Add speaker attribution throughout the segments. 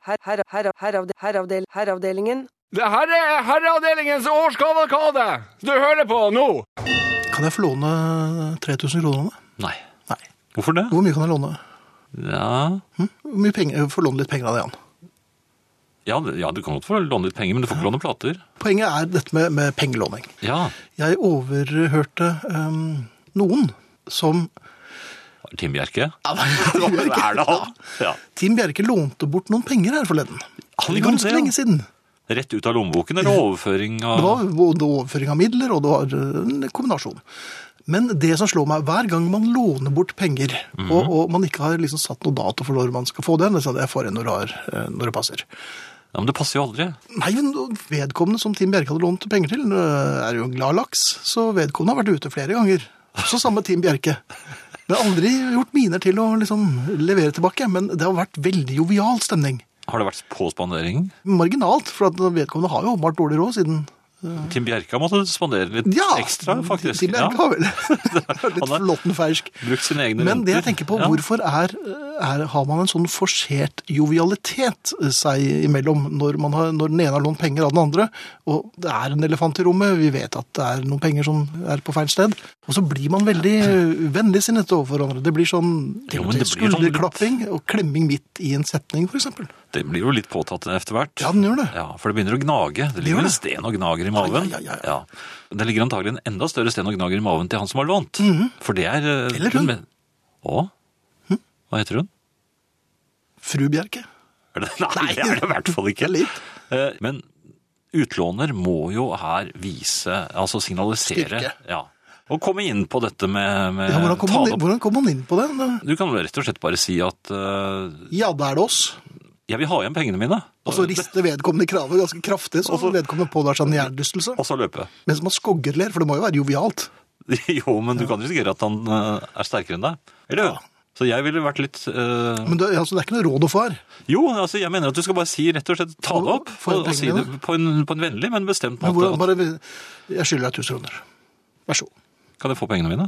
Speaker 1: Her, her, her, heravde, heravdel, heravdelingen.
Speaker 2: Det her er Herreavdelingens årskavalkade du hører på nå!
Speaker 3: Kan jeg få låne 3000 kroner av deg?
Speaker 4: Nei.
Speaker 3: Nei.
Speaker 4: Hvorfor det?
Speaker 3: Hvor mye kan jeg låne?
Speaker 4: Ja,
Speaker 3: Hm? Hvor mye penger? Få låne litt penger av deg, Jan.
Speaker 4: ja, det- ja du kan godt få låne litt penger, men du får ikke låne plater.
Speaker 3: Poenget er dette med, med pengelåning.
Speaker 4: Ja,
Speaker 3: Jeg overhørte ehm, noen som
Speaker 4: Tim Bjerke. Hva er det han? Ja.
Speaker 3: Tim Bjerke lånte bort noen penger her forleden.
Speaker 4: Han
Speaker 3: Det er
Speaker 4: gjorde
Speaker 3: ganske
Speaker 4: det, ja.
Speaker 3: lenge siden.
Speaker 4: Rett ut av lommeboken eller overføring av
Speaker 3: Det var både overføring av midler, og det var eh, en kombinasjon. Men det som slår meg, hver gang man låner bort penger,
Speaker 4: Mhm.
Speaker 3: og, og man ikke har liksom satt noe dato for når man skal få den, det er sånn, jeg får en når, det har- eh, når det passer.
Speaker 4: Ja, men det passer jo aldri.
Speaker 3: Nei, men vedkommende som Tim Bjerke hadde lånt penger til, eh, er jo en glad laks, så vedkommende har vært ute flere ganger. Også samme Tim Bjerke. Men aldri gjort miner til å liksom levere tilbake, men det har vært veldig jovial stemning.
Speaker 4: Har det vært på spandering?
Speaker 3: Marginalt, for at vedkommende har jo åpenbart dårlig råd siden
Speaker 4: Tim Bjerke har måttet spandere litt
Speaker 3: Ja!
Speaker 4: ekstra, faktisk.
Speaker 3: Tim Bjerke
Speaker 4: Ja.
Speaker 3: har vel litt
Speaker 4: Han er-
Speaker 3: flåtten fersk.
Speaker 4: Brukt sine egne
Speaker 3: Men det
Speaker 4: renter.
Speaker 3: jeg tenker på,
Speaker 4: Ja.
Speaker 3: hvorfor er, er, har man en sånn forsert jovialitet eh, seg imellom når, man har, når den ene har lånt penger av den andre, og det er en elefant i rommet, vi vet at det er noen penger som er på feil sted, og så blir man veldig vennligsinnet overfor hverandre. Det blir sånn
Speaker 4: Jo, men det blir sånn litt-
Speaker 3: skulderklapping og klemming midt i en setning, for eksempel.
Speaker 4: Det blir jo litt påtatt etter hvert.
Speaker 3: Ja, den gjør det.
Speaker 4: Ja, for det begynner å gnage. Det
Speaker 3: gjør
Speaker 4: ligger en
Speaker 3: det.
Speaker 4: sten og gnager i maven.
Speaker 3: Ja, ja, ja,
Speaker 4: Det ligger antagelig en enda større sten og gnager i maven til han som har lånt. For det er eh,
Speaker 3: Mhm. Eller hun. Hm?
Speaker 4: men- Å? Hva heter hun?
Speaker 3: Fru Bjerke.
Speaker 4: Er det, nei, det er det i hvert fall ikke.
Speaker 3: Litt.
Speaker 4: Eh, Men utlåner må jo her vise, altså signalisere.
Speaker 3: Styrke.
Speaker 4: Ja. Og komme inn på dette med, med
Speaker 3: Ja, hvordan kom,
Speaker 4: Eh, tale
Speaker 3: man, inn- hvordan kom man inn på den?
Speaker 4: Du kan vel rett og slett bare si at eh,
Speaker 3: Ja, da er det oss.
Speaker 4: jeg vil ha igjen pengene mine,
Speaker 3: Og så rister vedkommende kravet ganske kraftig, så vedkommende pådrar seg en hjernerystelse.
Speaker 4: og så løpe.
Speaker 3: Mens man skoggerler, for det må jo være jovialt.
Speaker 4: Jo, men du kan risikere at han eh, er sterkere enn deg. Eller jo. Så jeg ville vært litt eh,
Speaker 3: Men det, altså, det er ikke noe råd å få her.
Speaker 4: Jo, altså jeg mener at du skal bare si rett og slett ta det opp.
Speaker 3: Får jeg
Speaker 4: og, og si
Speaker 3: pengene,
Speaker 4: det på en, på en vennlig, men bestemt
Speaker 3: Men
Speaker 4: måte.
Speaker 3: hvordan-
Speaker 4: at,
Speaker 3: bare, jeg skylder deg 1000 kroner. Vær så god.
Speaker 4: Kan jeg få pengene mine?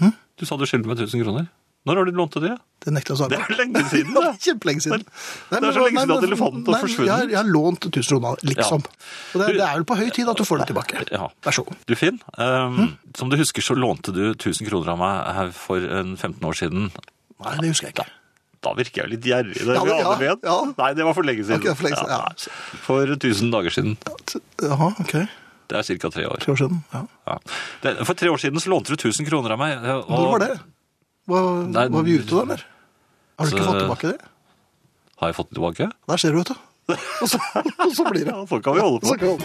Speaker 3: Hm?
Speaker 4: Du sa du skyldte meg 1000 kroner. Når har du lånt til det?
Speaker 3: Det nekter jeg å svare
Speaker 4: Det er lenge siden,
Speaker 3: det
Speaker 4: da.
Speaker 3: er kjempelenge siden. Nei,
Speaker 4: det er
Speaker 3: men-
Speaker 4: så lenge
Speaker 3: nei,
Speaker 4: siden at
Speaker 3: men-
Speaker 4: elefanten har
Speaker 3: nei,
Speaker 4: forsvunnet.
Speaker 3: Jeg, har- jeg har lånt 1000 kroner, liksom. Og det,
Speaker 4: Du-
Speaker 3: det er vel på høy tid at du får det tilbake.
Speaker 4: Ja.
Speaker 3: Vær så god.
Speaker 4: Du Finn, ehm,
Speaker 3: Hm?
Speaker 4: som du husker så lånte du 1000 kroner av meg her for en 15 år siden.
Speaker 3: Nei, det husker jeg ikke.
Speaker 4: Da virker jeg litt gjerrig. Det
Speaker 3: Ja, det- ja,
Speaker 4: glade ben.
Speaker 3: ja.
Speaker 4: Nei, det var for lenge siden.
Speaker 3: Ok, for lenge siden, ja.
Speaker 4: nei. For 1000 dager siden.
Speaker 3: Jaha, ok.
Speaker 4: Det er ca. tre år.
Speaker 3: Tre år siden. Ja.
Speaker 4: Ja. Det- For tre år siden så lånte du 1000 kroner av meg. og-
Speaker 3: Når var det? Var,
Speaker 4: Nei, altså-
Speaker 3: var vi ute da, eller? Har du ikke
Speaker 4: så-
Speaker 3: fått tilbake det?
Speaker 4: Har jeg fått det tilbake?
Speaker 3: Der ser du, vet du. Og så, og så blir det.
Speaker 4: Ja, sånn kan vi holde på.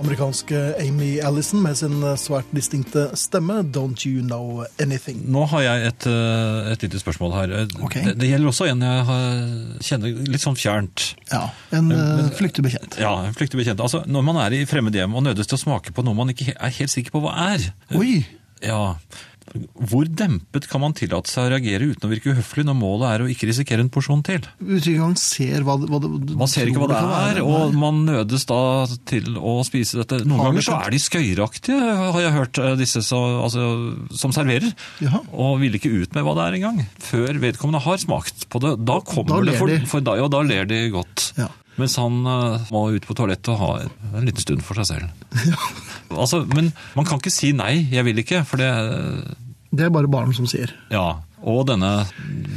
Speaker 3: Amerikanske Amy Allison med sin eh, svært distinkte stemme, Don't You Know Anything.
Speaker 5: Nå har jeg et, eh, et lite spørsmål her.
Speaker 3: Ok.
Speaker 5: Det, det gjelder også en jeg har, kjenner litt sånn fjernt.
Speaker 3: Ja, en eh, flyktig bekjent.
Speaker 5: Ja, flyktig bekjent. Altså, når man er i fremmed hjem og nødes til å smake på noe man ikke he- er helt sikker på hva er,
Speaker 3: Oi,
Speaker 5: ja, hvor dempet kan man tillate seg å reagere uten å virke uhøflig når målet er å ikke risikere en porsjon til?
Speaker 3: utviklingen ser hva, det- hva det
Speaker 5: Man ser ikke hva det er, og man nødes da til å spise dette. Noen
Speaker 3: Har du
Speaker 5: ganger så
Speaker 3: tenkt-
Speaker 5: er de skøyeraktige, har jeg hørt, eh, disse som, altså, som serverer.
Speaker 3: Jaha.
Speaker 5: Og vil ikke ut med hva det er engang, før vedkommende har smakt på det.
Speaker 3: Da
Speaker 5: Da kommer det
Speaker 3: ler
Speaker 5: for,
Speaker 3: de.
Speaker 5: for deg, og da ler de godt.
Speaker 3: Ja.
Speaker 5: Mens han eh, må ut på toalettet og ha en liten stund for seg selv. altså, men man kan ikke si nei, jeg vil ikke, for det eh,
Speaker 3: Det er bare barn som sier.
Speaker 5: Ja. Og denne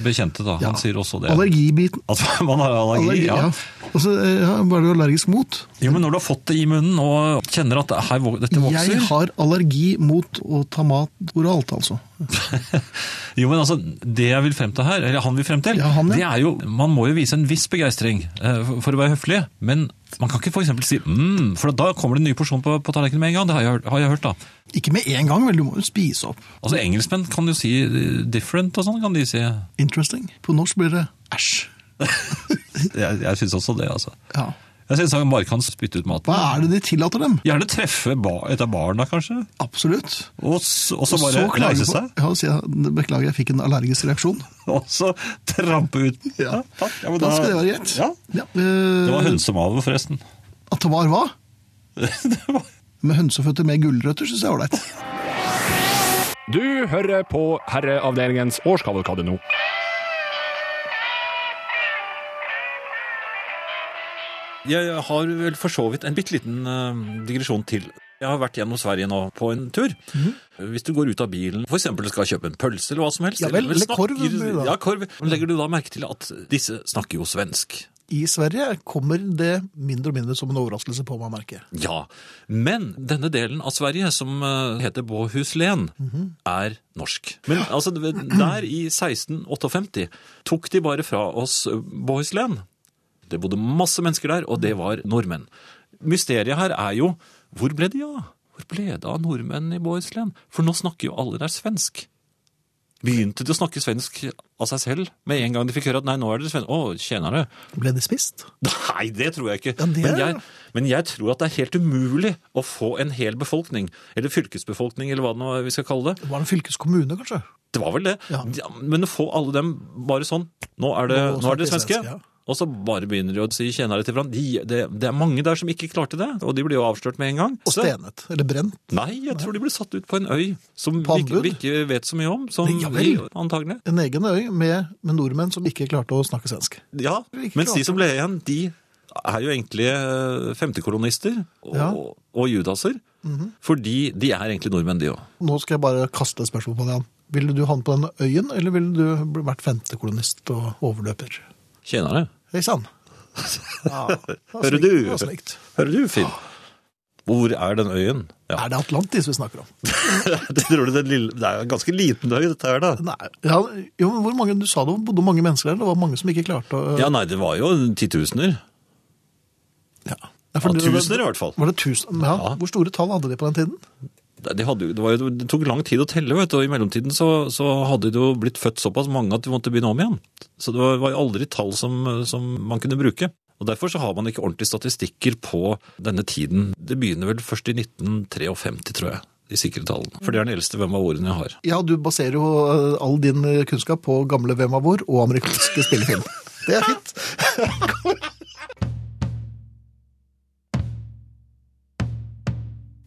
Speaker 5: bekjente, da. Han sier også det.
Speaker 3: Allergibiten.
Speaker 5: At man har allergi,
Speaker 3: Allergi, ja. Altså, eh, ja, hva er du allergisk mot?
Speaker 5: Jo, men når du har fått det i munnen og kjenner at her, vok- dette vokser
Speaker 3: Jeg har allergi mot å ta mat oralt, altså.
Speaker 5: Jo, men altså, Det jeg vil frem til her, eller han vil frem til,
Speaker 3: Ja, han, ja.
Speaker 5: det er jo Man må jo vise en viss begeistring eh, for- for å være høflig, men man kan ikke f.eks. si mm, for da kommer det en ny porsjon på, på tallerkenen med en gang. Det har jeg, hørt- har jeg hørt, da.
Speaker 3: Ikke med en gang, vel, du må jo spise opp.
Speaker 5: Altså, Engelskmenn kan jo si eh, 'different' og sånn, kan de si. Jeg,
Speaker 3: Interesting. På norsk blir det æsj.
Speaker 5: jeg syns også det, altså.
Speaker 3: Ja.
Speaker 5: Jeg syns han bare kan spytte ut maten.
Speaker 3: Hva er det de tillater dem?
Speaker 5: Gjerne treffe ba, et av barna, kanskje,
Speaker 3: Absolutt.
Speaker 5: og, s- og så
Speaker 3: Og
Speaker 5: bare
Speaker 3: klager
Speaker 5: reise
Speaker 3: på-
Speaker 5: seg,
Speaker 3: Ja, og si at, beklager, jeg fikk en allergisk reaksjon.
Speaker 5: og så trampe ut.
Speaker 3: Ja.
Speaker 5: takk. Ja,
Speaker 3: da,
Speaker 5: men
Speaker 3: skal det være greit.
Speaker 5: Ja.
Speaker 3: Ja, eh,
Speaker 5: Det var hønsemave, forresten.
Speaker 3: At det var hva?
Speaker 5: Det var-
Speaker 3: Med hønseføtter med gulrøtter syns jeg er ålreit.
Speaker 2: Du hører på Herreavdelingens årskavalkade nå.
Speaker 5: Jeg har vel for så vidt en bitte liten eh, digresjon til. Jeg har vært gjennom Sverige nå på en tur.
Speaker 3: Mhm.
Speaker 5: Hvis du går ut av bilen, for eksempel skal kjøpe en pølse eller hva som helst.
Speaker 3: Ja vel, eller
Speaker 5: snakker-
Speaker 3: korv blir det da.
Speaker 5: Ja, korv. Legger du da merke til at disse snakker jo svensk?
Speaker 3: I Sverige kommer det mindre og mindre som en overraskelse på meg, merker jeg.
Speaker 5: Ja. Men denne delen av Sverige, som eh, heter Båhuslen, er norsk. Men altså, der i 1658 tok de bare fra oss eh, Båhuslen. Det bodde masse mennesker der, og det var nordmenn. Mysteriet her er jo hvor ble de av? Hvor ble det av nordmenn i Båhuslen? For nå snakker jo alle der svensk. Begynte de å snakke svensk av seg selv med en gang de fikk høre at nei, nå er det svensk. Å, tjenere.
Speaker 3: Ble det spist?
Speaker 5: Nei, det tror jeg ikke.
Speaker 3: Ja, det
Speaker 5: men,
Speaker 3: er-
Speaker 5: jeg, men jeg tror at det er helt umulig å få en hel befolkning, eller fylkesbefolkning, eller hva det nå er vi skal kalle det.
Speaker 3: Det var en fylkeskommune, kanskje?
Speaker 5: Det var vel det.
Speaker 3: Ja.
Speaker 5: Ja, men å få alle dem bare sånn Nå er det,
Speaker 3: Nå
Speaker 5: nå er det
Speaker 3: snakker
Speaker 5: svenske.
Speaker 3: svenske, ja.
Speaker 5: Og så bare begynner de å si tjenere til hverandre. De, det, det er mange der som ikke klarte det, og de ble jo avslørt med en gang.
Speaker 3: Og
Speaker 5: Så-
Speaker 3: stenet? Eller brent?
Speaker 5: Nei, jeg tror de ble satt ut på en øy som
Speaker 3: På
Speaker 5: vi, ikke-
Speaker 3: anbud?
Speaker 5: vi ikke vet så mye om. Som
Speaker 3: Ja vel.
Speaker 5: vi- antagelig.
Speaker 3: En egen øy med, med nordmenn som ikke klarte å snakke svensk.
Speaker 5: Ja,
Speaker 3: Ikke
Speaker 5: mens de
Speaker 3: klart.
Speaker 5: som ble igjen, de er jo egentlig eh, femtekolonister og,
Speaker 3: Ja. Mhm.
Speaker 5: og judaser. Fordi de er egentlig nordmenn, de òg.
Speaker 3: Nå skal jeg bare kaste et spørsmål på deg. Jan. Ville du havnet på den øyen, eller ville du bl- vært femtekolonist og overløper?
Speaker 5: Tjenere.
Speaker 3: Hei sann. Ja, det var
Speaker 5: Hører
Speaker 3: snikt,
Speaker 5: du?
Speaker 3: det var snikt.
Speaker 5: Hører du, Finn? Hvor er den øyen? Ja,
Speaker 3: Er det Atlantis vi snakker om?
Speaker 5: det tror du den lille Det er en ganske liten øy, dette her, da.
Speaker 3: Nei. Ja, jo, men hvor mange, du sa det bodde mange mennesker der, det var mange som ikke klarte å
Speaker 5: Ja, nei, det var jo titusener.
Speaker 3: Ja. Ja, for
Speaker 5: Ja,
Speaker 3: det-
Speaker 5: tusener i hvert fall.
Speaker 3: Var det tusen? Ja.
Speaker 5: Ja.
Speaker 3: Hvor store tall hadde de på den tiden?
Speaker 5: Det, de hadde, jo- det, var, jo- det tok lang tid å telle, vet du, og i mellomtiden så, så hadde det jo blitt født såpass mange at de måtte begynne om igjen. Så det var, var jo aldri tall som, som man kunne bruke. Og Derfor så har man ikke ordentlige statistikker på denne tiden. Det begynner vel først i 1953, tror jeg, de sikre tallene. For det er den eldste hvem av ordene jeg har.
Speaker 3: Ja, du baserer jo eh, all din eh, kunnskap på gamle Hvem av hvor og amerikanske spillefilm. Det er fint.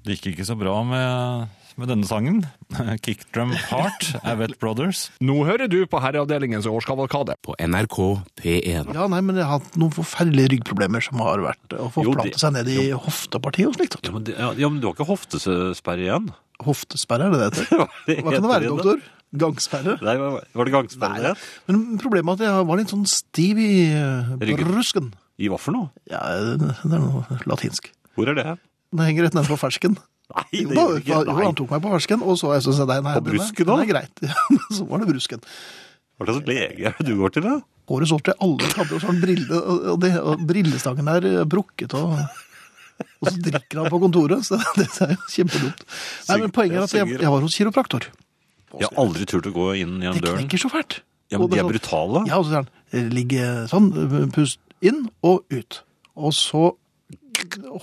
Speaker 4: Det gikk ikke så bra med, med denne sangen. Kickdrum Heart, Avet Brothers.
Speaker 2: Nå hører du på Herreavdelingens årskavalkade.
Speaker 6: på NRK P1.
Speaker 3: Ja, nei, men jeg har hatt noen forferdelige ryggproblemer som har vært eh, å
Speaker 4: Jo,
Speaker 3: forplante
Speaker 4: det-
Speaker 3: seg ned i hoftepartiet og slikt.
Speaker 4: Ja, men, det- ja, ja, men du har ikke hoftesperre igjen?
Speaker 3: Hoftesperre, er det det heter? Hva kan det være,
Speaker 4: heter
Speaker 3: doktor? Gangsperre?
Speaker 4: Nei, hva- var det gangsperre igjen?
Speaker 3: Men problemet er at jeg var litt sånn stiv i eh,
Speaker 4: Ryggen.
Speaker 3: brusken.
Speaker 4: I hva for noe?
Speaker 3: Ja, det er noe latinsk.
Speaker 4: Hvor er det?
Speaker 3: Den henger rett nede på fersken.
Speaker 4: Nei, det
Speaker 3: Jo, da,
Speaker 4: gjør det
Speaker 3: da,
Speaker 4: ikke.
Speaker 3: jo, han
Speaker 4: Nei.
Speaker 3: tok meg på fersken, og så jeg synes jeg, nei, nei,
Speaker 4: På
Speaker 3: den er-
Speaker 4: brusken
Speaker 3: den
Speaker 4: da?
Speaker 3: er greit. Ja, så var det brusken.
Speaker 4: Hva slags lege er det du går til, da?
Speaker 3: Årets år til alle hadde jo sånn brille, og- og, det, og brillestangen er eh, brukket, og, og så drikker han på kontoret, så det er jo kjempedumt. Nei, men
Speaker 4: Synger,
Speaker 3: poenget er at jeg,
Speaker 4: synger.
Speaker 3: jeg var hos kiropraktor.
Speaker 4: Jeg har aldri turt å gå inn gjennom
Speaker 3: Det
Speaker 4: døren.
Speaker 3: knekker så fælt.
Speaker 4: Ja, men
Speaker 3: Og det
Speaker 4: De er
Speaker 3: sånn-
Speaker 4: brutale.
Speaker 3: Ja, og så sier han, eh, ligg eh, sånn, eh, pust inn og ut. Og så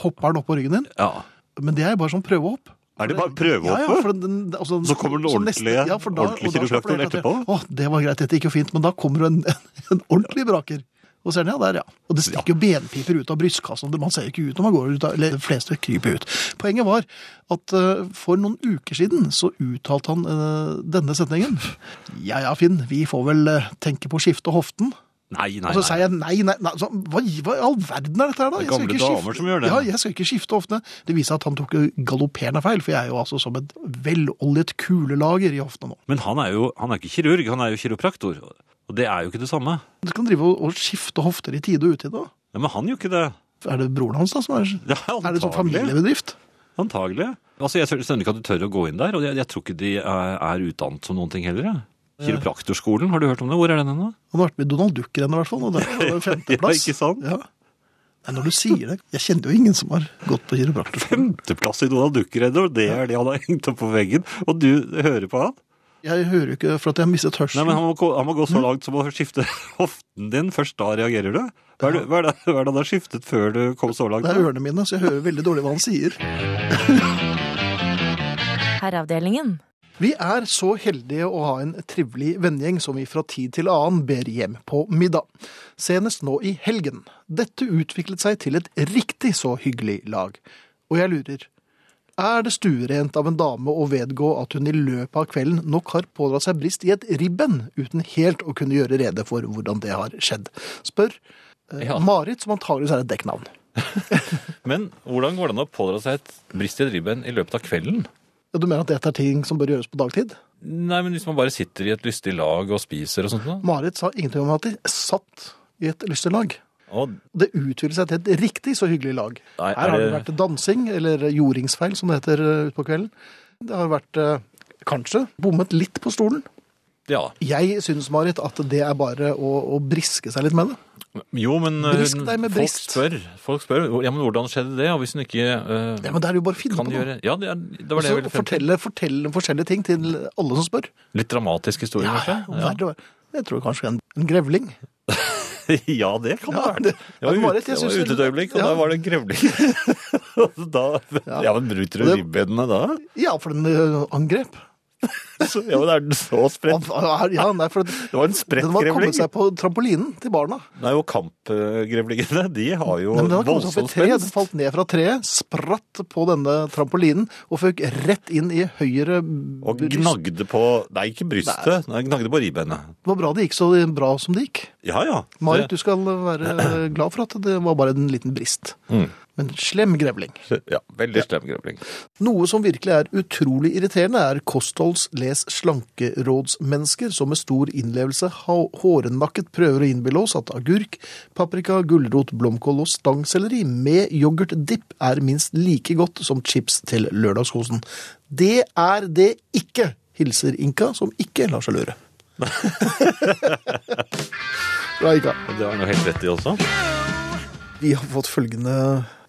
Speaker 3: hopper han opp på ryggen din,
Speaker 4: Ja.
Speaker 3: men det er bare sånn prøvehopp.
Speaker 4: Er det bare prøvehopp?
Speaker 3: Ja, ja, for den, den- altså,
Speaker 4: Så kommer den
Speaker 3: så
Speaker 4: ordentlige- ordentlige
Speaker 3: og da slapper
Speaker 4: kiropraktoren
Speaker 3: jeg helt
Speaker 4: etterpå?
Speaker 3: av. Å, det var greit, dette gikk jo fint, men da kommer det en, en, ordentlig braker. Og så er den, ja, der, ja. Og det stikker jo benpiper ut av brystkassa, det- man ser jo ikke ut når man går ut, av- eller de fleste kryper ut. Poenget var at eh, for noen uker siden så uttalte han eh, denne setningen. Ja, ja, Finn, vi får vel eh, tenke på å skifte hoften.
Speaker 4: Nei, nei,
Speaker 3: Og så
Speaker 4: nei.
Speaker 3: sier jeg nei, nei, nei. Så, hva, hva i all verden er dette her,
Speaker 4: Det er
Speaker 3: da? Jeg skal
Speaker 4: gamle
Speaker 3: ikke
Speaker 4: damer som gjør det.
Speaker 3: Ja, jeg skal ikke skifte ofte. Det viser at han tok galopperende feil, for jeg er jo altså som et veloljet kulelager i hoftene nå.
Speaker 4: Men han er jo han er ikke kirurg, han er jo kiropraktor. Og det er jo ikke det samme.
Speaker 3: Du kan drive og, og skifte hofter i tide og utide. da.
Speaker 4: Ja, men han gjør ikke det.
Speaker 3: Er det broren hans, da? som Er,
Speaker 4: Det er
Speaker 3: er det sånn
Speaker 4: antagelig.
Speaker 3: familiebedrift?
Speaker 4: antagelig. Altså, jeg skjønner ikke at du tør å gå inn der, og jeg, jeg tror ikke de er, er utdannet som noen ting heller. jeg. Kiropraktorskolen, har du hørt om det? Hvor er den henne?
Speaker 3: Han har vært med i Donald Duck i den, i hvert fall. Og der var det femteplass.
Speaker 4: Ja, ikke sant?
Speaker 3: Ja. Nei, når du sier det Jeg kjenner jo ingen som har gått på kiropraktorskolen.
Speaker 4: Femteplass i Donald Duck-redder, og det er det han har hengt opp på veggen. Og du hører på han?
Speaker 3: Jeg hører jo ikke for at jeg har mistet
Speaker 4: Nei,
Speaker 3: hørselen.
Speaker 4: men han må, gå- han må gå
Speaker 3: Mm.
Speaker 4: så langt som å skifte hoften din. Først da reagerer du. Hva er det, hva er det, hva er det han har skiftet før du kom så langt?
Speaker 3: Det er ørene mine, så jeg hører veldig dårlig hva han sier.
Speaker 7: Herreavdelingen.
Speaker 3: Vi er så heldige å ha en trivelig vennegjeng som vi fra tid til annen ber hjem på middag. Senest nå i helgen. Dette utviklet seg til et riktig så hyggelig lag. Og jeg lurer, er det stuerent av en dame å vedgå at hun i løpet av kvelden nok har pådratt seg brist i et ribben, uten helt å kunne gjøre rede for hvordan det har skjedd? Spør eh, Marit, som antageligvis er et dekknavn.
Speaker 5: Men hvordan går det an å pådra seg et brist i et ribbein i løpet av kvelden?
Speaker 3: Ja, Du mener at dette er ting som bør gjøres på dagtid?
Speaker 5: Nei, men hvis man bare sitter i et lystig lag og spiser og sånt noe.
Speaker 3: Marit sa ingenting om at de satt i et lystig lag.
Speaker 5: Og
Speaker 3: Det utviklet seg til et riktig så hyggelig lag.
Speaker 5: Nei, er
Speaker 3: Her har det
Speaker 5: det-
Speaker 3: vært dansing, eller jordingsfeil som det heter eh, utpå kvelden. Det har vært eh, kanskje bommet litt på stolen.
Speaker 5: ja.
Speaker 3: Jeg syns, Marit, at det er bare å, å briske seg litt med det.
Speaker 5: Jo, men eh,
Speaker 3: Brisk deg med
Speaker 5: folk
Speaker 3: brist.
Speaker 5: spør, folk spør ja, men hvordan skjedde det, og hvis hun ikke eh,
Speaker 3: Ja, men det er jo bare å finne
Speaker 5: kan
Speaker 3: på noe.
Speaker 5: gjøre Ja, det, er, det var det jeg
Speaker 3: Og
Speaker 5: ville
Speaker 3: så
Speaker 5: frem til.
Speaker 3: fortelle, fortelle forskjellige ting til alle som spør.
Speaker 5: Litt dramatisk historie, kanskje?
Speaker 3: Verre og verre. Jeg tror kanskje en, en grevling.
Speaker 5: ja, det kan
Speaker 3: Ja,
Speaker 5: det ha vært.
Speaker 3: det-
Speaker 5: Det var,
Speaker 3: det var
Speaker 5: ut,
Speaker 3: et- jeg
Speaker 5: det var
Speaker 3: synes-
Speaker 5: ute et øyebrudd, og
Speaker 3: ja.
Speaker 5: da var det grevling. Og da, ja. men bryter du
Speaker 3: Det-
Speaker 5: ribbenene da?
Speaker 3: Ja, for den ø, angrep.
Speaker 5: Så, ja, men er den så spredt?
Speaker 3: Ja, nei, for det,
Speaker 5: Det var en spredt
Speaker 3: Den var kommet
Speaker 5: grevling.
Speaker 3: seg på trampolinen til barna.
Speaker 5: Nei, og kampgrevlingene, de har jo
Speaker 3: Nei, men den var kommet seg
Speaker 5: voldsom
Speaker 3: opp i treet,
Speaker 5: spenst.
Speaker 3: den falt ned fra treet, spratt på denne trampolinen og føk rett inn i høyre
Speaker 5: Og
Speaker 3: bryst.
Speaker 5: gnagde på Nei, ikke brystet. Nei, gnagde på ribbenet.
Speaker 3: Det var bra det gikk så bra som det gikk.
Speaker 5: Ja, ja.
Speaker 3: Marit, du skal være glad for at det var bare en liten brist.
Speaker 5: Mm.
Speaker 3: Men slem grevling.
Speaker 5: Ja, Veldig slem grevling.
Speaker 3: Noe som virkelig er utrolig irriterende, er kostholds-, les-, slankerådsmennesker som med stor innlevelse ha- hårnakket prøver å innbille oss at agurk, paprika, gulrot, blomkål og stangselleri med yoghurtdipp er minst like godt som chips til lørdagskosen. Det er det ikke, hilser Inka, som ikke lar seg lure. Bra, Inka.
Speaker 5: Det har han jo helt rett i også.
Speaker 3: Vi har fått følgende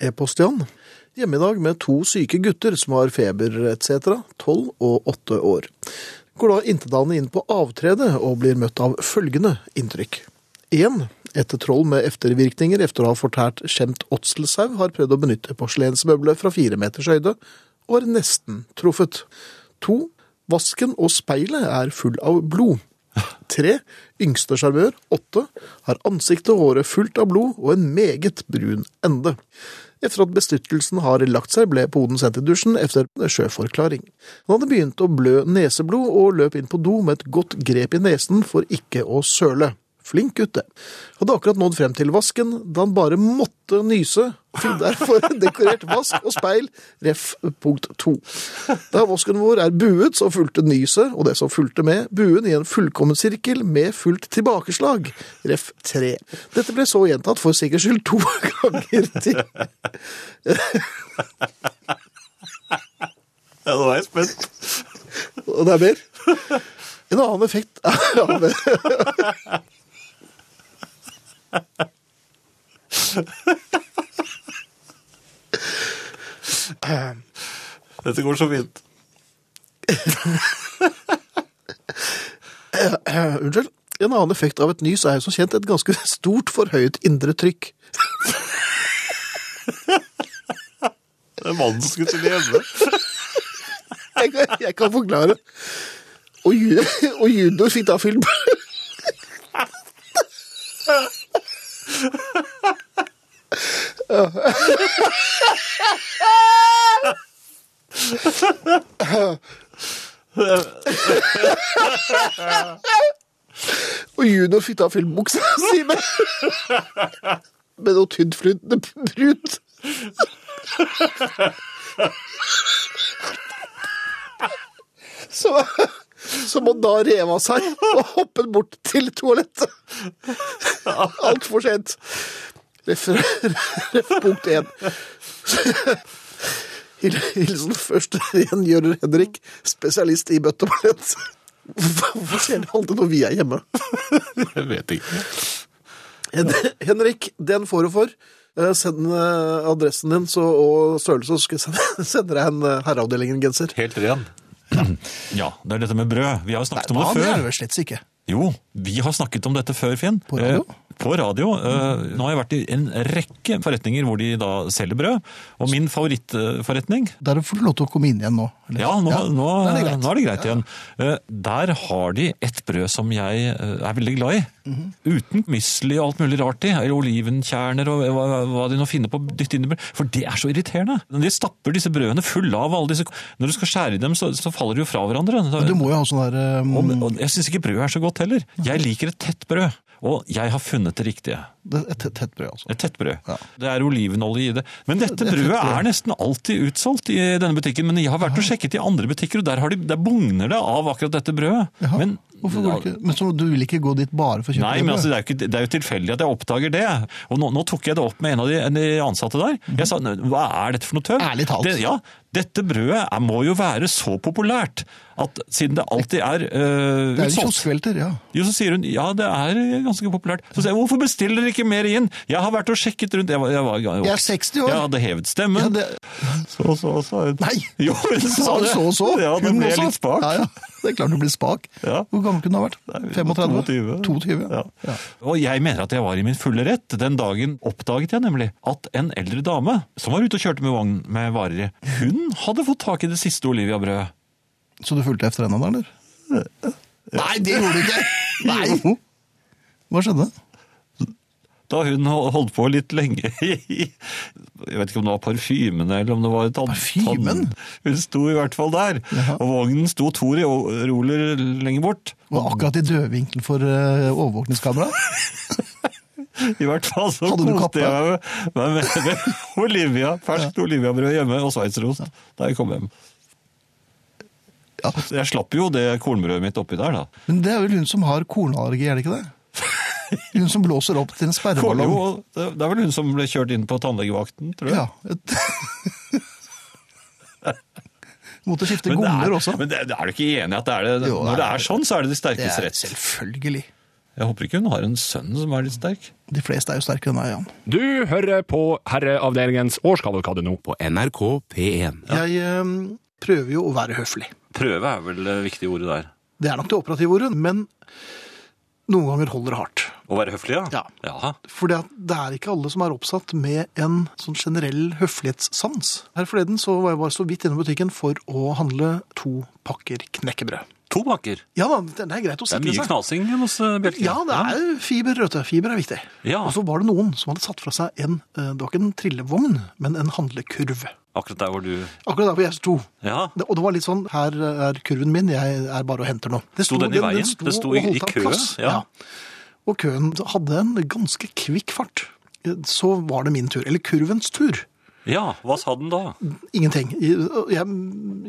Speaker 3: e-post, Jan. Hjemme i dag med to syke gutter som har feber etc., 12 og 8 år. Går da intetanende inn på avtredet og blir møtt av følgende inntrykk. 1. Et troll med eftervirkninger etter å ha fortært skjemt åtselsau har prøvd å benytte porselensmøblet fra fire meters høyde, og har nesten truffet. 2. Vasken og speilet er full av blod. 3. Yngste sjarmør, 8, har ansiktet og håret fullt av blod og en meget brun ende. Etter at bestyrtelsen har lagt seg, ble poden sendt i dusjen etter sjøforklaring. Han hadde begynt å blø neseblod og løp inn på do med et godt grep i nesen for ikke å søle. Flink gutt, det. Hadde akkurat nådd frem til vasken da han bare måtte nyse. Fikk derfor dekorert vask og speil, ref. punkt to. Da vasken vår er buet, så fulgte nyset og det som fulgte med, buen i en fullkommen sirkel med fullt tilbakeslag, ref. tre. Dette ble så gjentatt for sikkerhets skyld to ganger til.
Speaker 5: Ja, nå er jeg spent.
Speaker 3: Og det er mer. En annen effekt av
Speaker 5: Dette går så fint.
Speaker 3: Eh, Unnskyld. En annen effekt av et nys er jo som kjent et ganske stort forhøyet indre trykk.
Speaker 5: Det er vanskelig til hjemme.
Speaker 3: Jeg kan, jeg kan forklare. Og, ju, og junior fikk da film. Og junior fikk da filmbuksa si med, med noe tynnflytende brut. Så, som han da rev av seg og hoppet bort til toalettet. Altfor sent. Ref, ref punkt én. Hil- Hilsen først rengjører Henrik, spesialist i bøtteballett. Hvorfor skjer det alltid når vi er hjemme?
Speaker 5: Jeg vet ikke.
Speaker 3: Hen Henrik, den får du for. Eh, Send eh, adressen din så, og størrelse, så skal jeg sende- sende deg en eh, Herreavdelingen-genser.
Speaker 5: Helt ren. Ja, det er dette med brød. Vi har jo snakket om
Speaker 3: Nei, det
Speaker 5: det
Speaker 3: er
Speaker 5: før.
Speaker 3: det vel slett ikke.
Speaker 5: Jo, vi har snakket om dette før, Finn.
Speaker 3: På radio?
Speaker 5: Eh, på radio. Eh, nå har jeg vært i en rekke forretninger hvor de da selger brød. Og min favorittforretning
Speaker 3: Der får du lov til å komme inn igjen nå. eller?
Speaker 5: Ja, nå, Nå,
Speaker 3: da er det greit.
Speaker 5: nå er det greit igjen. Eh, Der har de et brød som jeg eh, er veldig glad i.
Speaker 3: Mhm.
Speaker 5: Uten misli og alt mulig rart i. Eller olivenkjerner og hva, hva de nå finner på. å dytte inn i brød. For det er så irriterende. De stapper disse brødene fulle av alle disse Når du skal skjære i dem, så, så faller de jo fra hverandre.
Speaker 3: Men Du må jo ha sånn der um,
Speaker 5: Og, og jeg syns ikke brødet er så godt heller. Jeg liker et tett brød. Og jeg har funnet det riktige.
Speaker 3: Det er Et tett, tett brød, altså.
Speaker 5: Et tettbrød.
Speaker 3: Ja.
Speaker 5: Det er olivenolje i det. Men dette brødet er nesten alltid utsolgt i denne butikken. Men jeg har vært og sjekket i andre butikker, og der, har de, der bugner det av akkurat dette brødet.
Speaker 3: Jaha,
Speaker 5: Men,
Speaker 3: Hvorfor går du ikke? Men så du vil ikke gå dit bare for å kjøpe
Speaker 5: Nei,
Speaker 3: det
Speaker 5: men
Speaker 3: brødet?
Speaker 5: altså, det, er jo ikke, det er jo tilfeldig at jeg oppdager det. Og nå, nå tok jeg det opp med en av de, en av de ansatte der. Jeg sa hva er dette for noe tøv?
Speaker 3: Mhm. Ærlig talt.
Speaker 5: Det, ja, dette brødet er, må jo være så populært at siden det alltid er øh,
Speaker 3: det er jo
Speaker 5: utsolgt
Speaker 3: kioskvelter, ja.
Speaker 5: jo, så sier hun ja, det er ganske populært. Så sier jeg hvorfor bestiller dere ikke mer inn? Jeg har vært og sjekket rundt. Jeg, var, jeg, var,
Speaker 3: Jeg er 60 år.
Speaker 5: Jeg hadde hevet stemmen.
Speaker 3: ja det,
Speaker 5: Så, så, så.
Speaker 3: nei!
Speaker 5: Jo, men
Speaker 3: Du
Speaker 5: hun
Speaker 3: sa
Speaker 5: sa det.
Speaker 3: så og så.
Speaker 5: Ja, det
Speaker 3: Hun
Speaker 5: ble
Speaker 3: også.
Speaker 5: litt spak.
Speaker 3: Ja, ja. Det er klart du blir spak.
Speaker 5: Ja.
Speaker 3: Hvor gammel kunne du ha vært? 35?
Speaker 5: 22.
Speaker 3: 22,
Speaker 5: Ja.
Speaker 3: ja. ja.
Speaker 5: Og jeg mener at jeg var i min fulle rett. Den dagen oppdaget jeg nemlig at en eldre dame som var ute og kjørte med vogn med varer i, hun hadde fått tak i det siste Olivia-brødet.
Speaker 3: Så du fulgte etter henne da, eller? Nei, det gjorde du ikke! Nei! Hva skjedde?
Speaker 5: Da hun hol- holdt på litt lenge i Jeg vet ikke om det var parfymene eller om det var tann...
Speaker 3: Parfymen?
Speaker 5: tann- Hun sto i hvert fall der.
Speaker 3: Jaha.
Speaker 5: Og vognen sto to reoler lenger bort.
Speaker 3: Var akkurat i dødvinkel for eh, overvåkningskameraet?
Speaker 5: I hvert fall så
Speaker 3: Hadde du
Speaker 5: koste
Speaker 3: kappe?
Speaker 5: jeg meg med, med, med Olivia, ferskt Olivia-brød hjemme og sveitserost da jeg kom hjem.
Speaker 3: Ja.
Speaker 5: Så jeg slapp jo det kornbrødet mitt oppi der, da.
Speaker 3: Men det er vel hun som har kornallergi, er det ikke det? Hun som blåser opp til en
Speaker 5: Kom,
Speaker 3: sperreballong.
Speaker 5: jo, det det er vel hun som ble kjørt inn på tannlegevakten, tror jeg.
Speaker 3: Ja. Et... Måtte skifte
Speaker 5: Men det er-
Speaker 3: gonger også.
Speaker 5: Men det, er du ikke enig i at det er det?
Speaker 3: Jo,
Speaker 5: Når det
Speaker 3: det er-
Speaker 5: er sånn, så er det de
Speaker 3: Det
Speaker 5: sterkes
Speaker 3: er
Speaker 5: rett.
Speaker 3: selvfølgelig.
Speaker 5: Jeg håper ikke hun har en sønn som er litt sterk.
Speaker 3: De fleste er jo sterkere enn meg, Jan.
Speaker 2: Du hører på Herreavdelingens årskavalkade nå.
Speaker 8: på NRK P1.
Speaker 3: Jeg eh, prøver jo å være høflig.
Speaker 9: Prøve er vel det viktige ordet der.
Speaker 3: Det er nok det operative ordet, men noen ganger holder det hardt.
Speaker 9: Å være høflig, ja?
Speaker 3: Ja.
Speaker 9: Jaha.
Speaker 3: For det er ikke alle som er oppsatt med en sånn generell høflighetssans. Her forleden så var jeg bare så vidt innom butikken for å handle to pakker knekkebrød.
Speaker 9: To pakker.
Speaker 3: Ja da, det er greit å
Speaker 9: Det er
Speaker 3: sikre
Speaker 9: mye
Speaker 3: seg.
Speaker 9: knasing hos eh, Bjelke.
Speaker 3: Ja, det er fiber, vet du. Fiber er viktig.
Speaker 9: Ja.
Speaker 3: Og så var det noen som hadde satt fra seg en, eh, det var ikke en trillevogn, men en handlekurv.
Speaker 9: Akkurat der hvor du
Speaker 3: Akkurat der hvor jeg sto.
Speaker 9: Ja.
Speaker 3: Det- Og det var litt sånn, her er kurven min, jeg er bare og henter nå. Det
Speaker 9: Sto den i veien? Det sto i-
Speaker 3: og holdt
Speaker 9: i
Speaker 3: av
Speaker 9: kø?
Speaker 3: plass.
Speaker 9: Ja.
Speaker 3: Og køen hadde en ganske kvikk fart. Eh, Så var det min tur, eller kurvens tur.
Speaker 9: ja. Hva sa den da?
Speaker 3: Ingenting. Jeg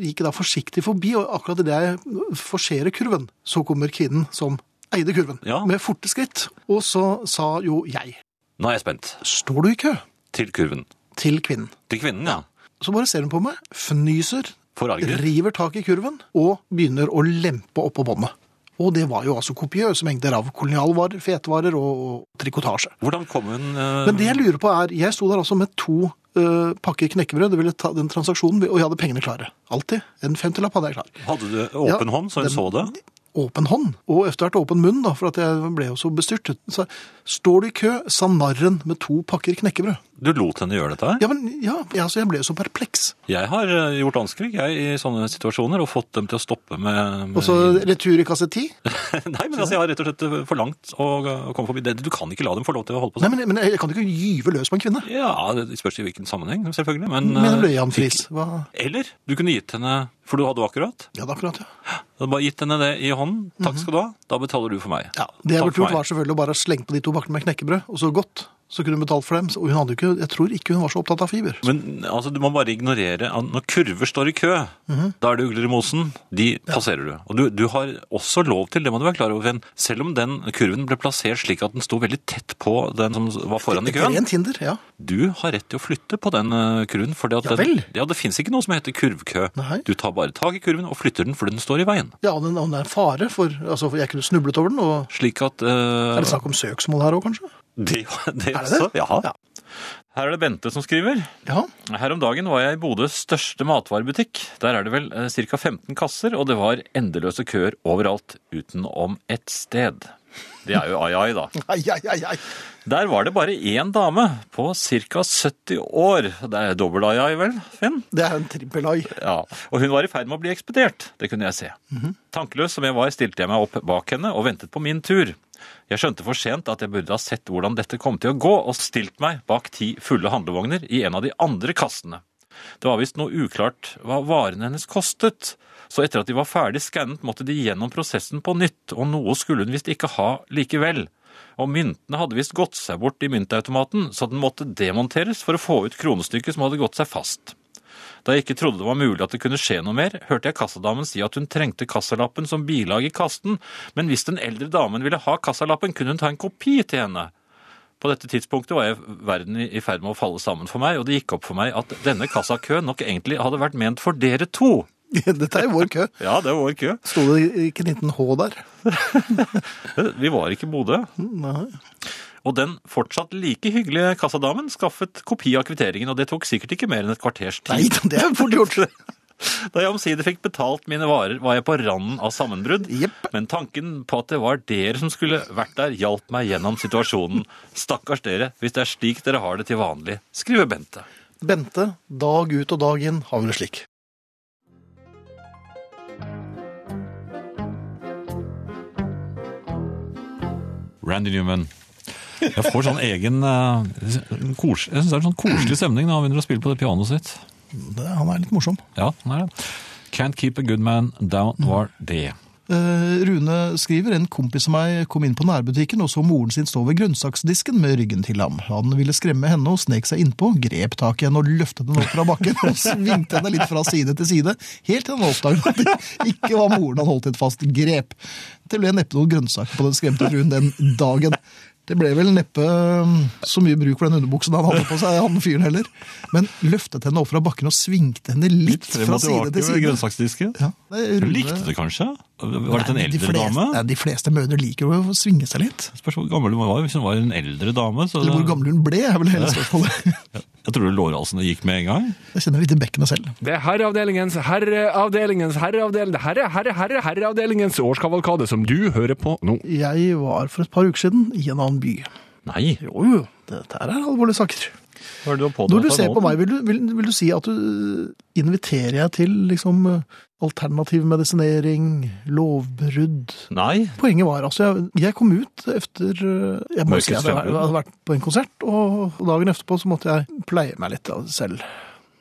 Speaker 3: gikk da forsiktig forbi, og akkurat idet jeg forserer kurven, så kommer kvinnen som eide kurven,
Speaker 9: Ja.
Speaker 3: med forte skritt. Og så sa jo jeg,
Speaker 9: Nå er jeg spent.
Speaker 3: står du i kø?
Speaker 9: Til kurven.
Speaker 3: Til kvinnen.
Speaker 9: Til kvinnen, ja.
Speaker 3: Så bare ser hun på meg, fnyser,
Speaker 9: Forarget.
Speaker 3: river tak i kurven og begynner å lempe oppå båndet. Og det var jo altså kopiøse mengder av kolonialvarer, fetevarer og, og trikotasje.
Speaker 9: Hvordan kom hun eh,
Speaker 3: Men det jeg lurer på er, jeg sto der altså med to eh, pakker knekkebrød, det ville ta den transaksjonen, og jeg hadde pengene klare. Alltid. En femtilapp hadde jeg klar.
Speaker 9: Hadde du åpen
Speaker 3: Ja,
Speaker 9: hånd, så hun
Speaker 3: den-
Speaker 9: så det?
Speaker 3: Åpen hånd, og etter hvert åpen munn, da, for at jeg ble jo så bestyrtet. Så står du i kø, sa narren med to pakker knekkebrød.
Speaker 9: Du lot henne gjøre dette? her?
Speaker 3: Ja, men ja, altså, jeg ble jo så perpleks.
Speaker 9: Jeg har eh, gjort anskrig jeg, i sånne situasjoner og fått dem til å stoppe med, med
Speaker 3: Og så retur i kasse ti.
Speaker 9: Nei, men altså, jeg har rett og slett eh, forlangt å, å komme forbi. Det- Du kan ikke la dem få lov til å holde på
Speaker 3: Nei,
Speaker 9: sånn.
Speaker 3: men, men jeg kan ikke gyve løs på en kvinne.
Speaker 9: Ja, det spørs i hvilken sammenheng, selvfølgelig. Men,
Speaker 3: Men
Speaker 9: eh,
Speaker 3: ble Jan Friis? Hva?
Speaker 9: Eller du kunne gitt henne For du hadde jo akkurat.
Speaker 3: Ja, det er akkurat, ja.
Speaker 9: Du hadde bare gitt henne det i hånden. Takk skal du ha. Da betaler du for meg.
Speaker 3: Mhm. ja det jeg
Speaker 9: Takk
Speaker 3: burde gjort
Speaker 9: for meg.
Speaker 3: var selvfølgelig å bare slenge på de to pakkene med knekkebrød, og så godt. Så kunne hun betalt for dem. Og hun hadde jo ikke, jeg tror ikke hun var så opptatt av fiber.
Speaker 9: Men altså, du må bare ignorere at når kurver står i kø,
Speaker 3: Mhm.
Speaker 9: da er det ugler i mosen. De passerer du. Og du, du har også lov til, det må du være klar over, Finn, selv om den kurven ble plassert slik at den sto veldig tett på den som var foran i køen,
Speaker 3: Rent hinder, ja.
Speaker 9: du har rett til å flytte på den eh, kurven. For
Speaker 3: Ja
Speaker 9: den,
Speaker 3: vel.
Speaker 9: ja, det fins ikke noe som heter kurvkø.
Speaker 3: Nei.
Speaker 9: Du tar bare tak i kurven og flytter den fordi den står i veien.
Speaker 3: Ja, og den, og den er en fare, for, altså, for jeg kunne snublet over den. Og
Speaker 9: Slik at eh,
Speaker 3: er det snakk om søksmål her òg, kanskje?
Speaker 9: Det, det,
Speaker 3: Er det
Speaker 9: også?
Speaker 3: det?
Speaker 9: Ja.
Speaker 3: Ja.
Speaker 5: Her er det Bente som skriver.
Speaker 3: Ja.
Speaker 5: Her om dagen var jeg i Bodøs største matvarebutikk. Der er det vel ca. 15 kasser, og det var endeløse køer overalt, utenom ett sted. Det er jo ai ai, da.
Speaker 3: Ai, ai, ai, ai.
Speaker 5: Der var det bare én dame på ca. 70 år. Det er dobbel ai ai, vel, Finn?
Speaker 3: Det er en trippel-ai.
Speaker 5: Ja, og hun var i ferd med å bli ekspedert. Det kunne jeg se. Tankeløs som jeg var, stilte jeg meg opp bak henne og ventet på min tur. Jeg skjønte for sent at jeg burde ha sett hvordan dette kom til å gå, og stilt meg bak ti fulle handlevogner i en av de andre kassene. Det var visst noe uklart hva varene hennes kostet, så etter at de var ferdig skannet, måtte de gjennom prosessen på nytt, og noe skulle hun visst ikke ha likevel.
Speaker 7: og myntene hadde visst gått seg bort i myntautomaten, så den måtte demonteres for å få ut kronestykket som hadde gått seg fast. Da jeg ikke trodde det var mulig at det kunne skje noe mer, hørte jeg kassadamen si at hun trengte kassalappen som bilag i kasten, men hvis den eldre damen ville ha kassalappen, kunne hun ta en kopi til henne. På dette tidspunktet var jeg verden i i ferd med å falle sammen for meg, og det gikk opp for meg at denne kassakøen nok egentlig hadde vært ment for dere to.
Speaker 3: Dette er jo vår kø.
Speaker 7: Ja, det var kø.
Speaker 3: Sto det ikke 19H der?
Speaker 7: Eh, Vi var ikke i Bodø.
Speaker 3: Nei.
Speaker 7: Og den fortsatt like hyggelige kassadamen skaffet kopi av kvitteringen, og det tok sikkert ikke mer enn et kvarters tid.
Speaker 3: Nei, det er fort gjort.
Speaker 7: Da jeg omsider fikk betalt mine varer, var jeg på randen av sammenbrudd.
Speaker 3: Jepp.
Speaker 7: Men tanken på at det var dere som skulle vært der, hjalp meg gjennom situasjonen. Stakkars dere, hvis det er slik dere har det til vanlig, skriver Bente.
Speaker 3: Bente, dag ut og dag inn, har vi det slik.
Speaker 5: Randy Newman. Jeg får sånn egen eh, kos, Jeg syns det er en sånn koselig stemning når han begynner å spille på det pianoet sitt.
Speaker 3: Det, han er litt morsom.
Speaker 5: Ja, han er det. Can't keep a good man down var det.
Speaker 3: Eh, Rune skriver en kompis av meg kom inn på nærbutikken og så moren sin stå ved grønnsaksdisken med ryggen til ham. Han ville skremme henne og snek seg innpå, grep tak i henne og løftet henne opp fra bakken og svingte henne litt fra side til side, helt til han oppdaget at det ikke var moren han holdt et fast grep. Det ble neppe noen grønnsaker på den skremte fruen den dagen. Det ble vel neppe mm, så mye bruk for den underbuksen han hadde på seg, han fyren heller. Men løftet henne opp fra bakken og svingte henne litt, fra side til
Speaker 5: ved
Speaker 3: side.
Speaker 5: grønnsaksdisken.
Speaker 3: Ja, det-
Speaker 5: Hun
Speaker 3: Rune-
Speaker 5: likte det kanskje? Var dette en
Speaker 3: Nei, de
Speaker 5: eldre
Speaker 3: fleste-
Speaker 5: dame?
Speaker 3: Nei, de fleste mødre liker jo å svinge seg litt.
Speaker 5: Spørs hvor gammel hun var. Hvis hun var en eldre dame, så
Speaker 3: Eller hvor gammel hun ble, er vel hele spørsmålet.
Speaker 5: Jeg tror lårhalsene gikk med en gang.
Speaker 3: Jeg kjenner litt i bekkenet selv.
Speaker 2: Det er herreavdelingens, herreavdelingens, herreavdelingens, herre, herre, herre, herreavdelingens årskavalkade som du hører på nå.
Speaker 3: Jeg var for et par uker siden i en annen by.
Speaker 7: Nei.
Speaker 3: Jo, jo, dette her er alvorlige saker.
Speaker 7: Hva er det du har pådratt
Speaker 3: Når du
Speaker 7: deg
Speaker 3: ser
Speaker 7: nå?
Speaker 3: på meg, vil du, vil, vil du si at du eh, inviterer jeg til liksom alternativ medisinering, lovbrudd?
Speaker 7: Nei.
Speaker 3: Poenget var, altså, jeg, jeg kom ut efter eh, Jeg må
Speaker 7: Mørkets
Speaker 3: si at jeg
Speaker 7: frembrud.
Speaker 3: hadde vært på en konsert, og dagen etterpå så måtte jeg pleie meg litt av selv.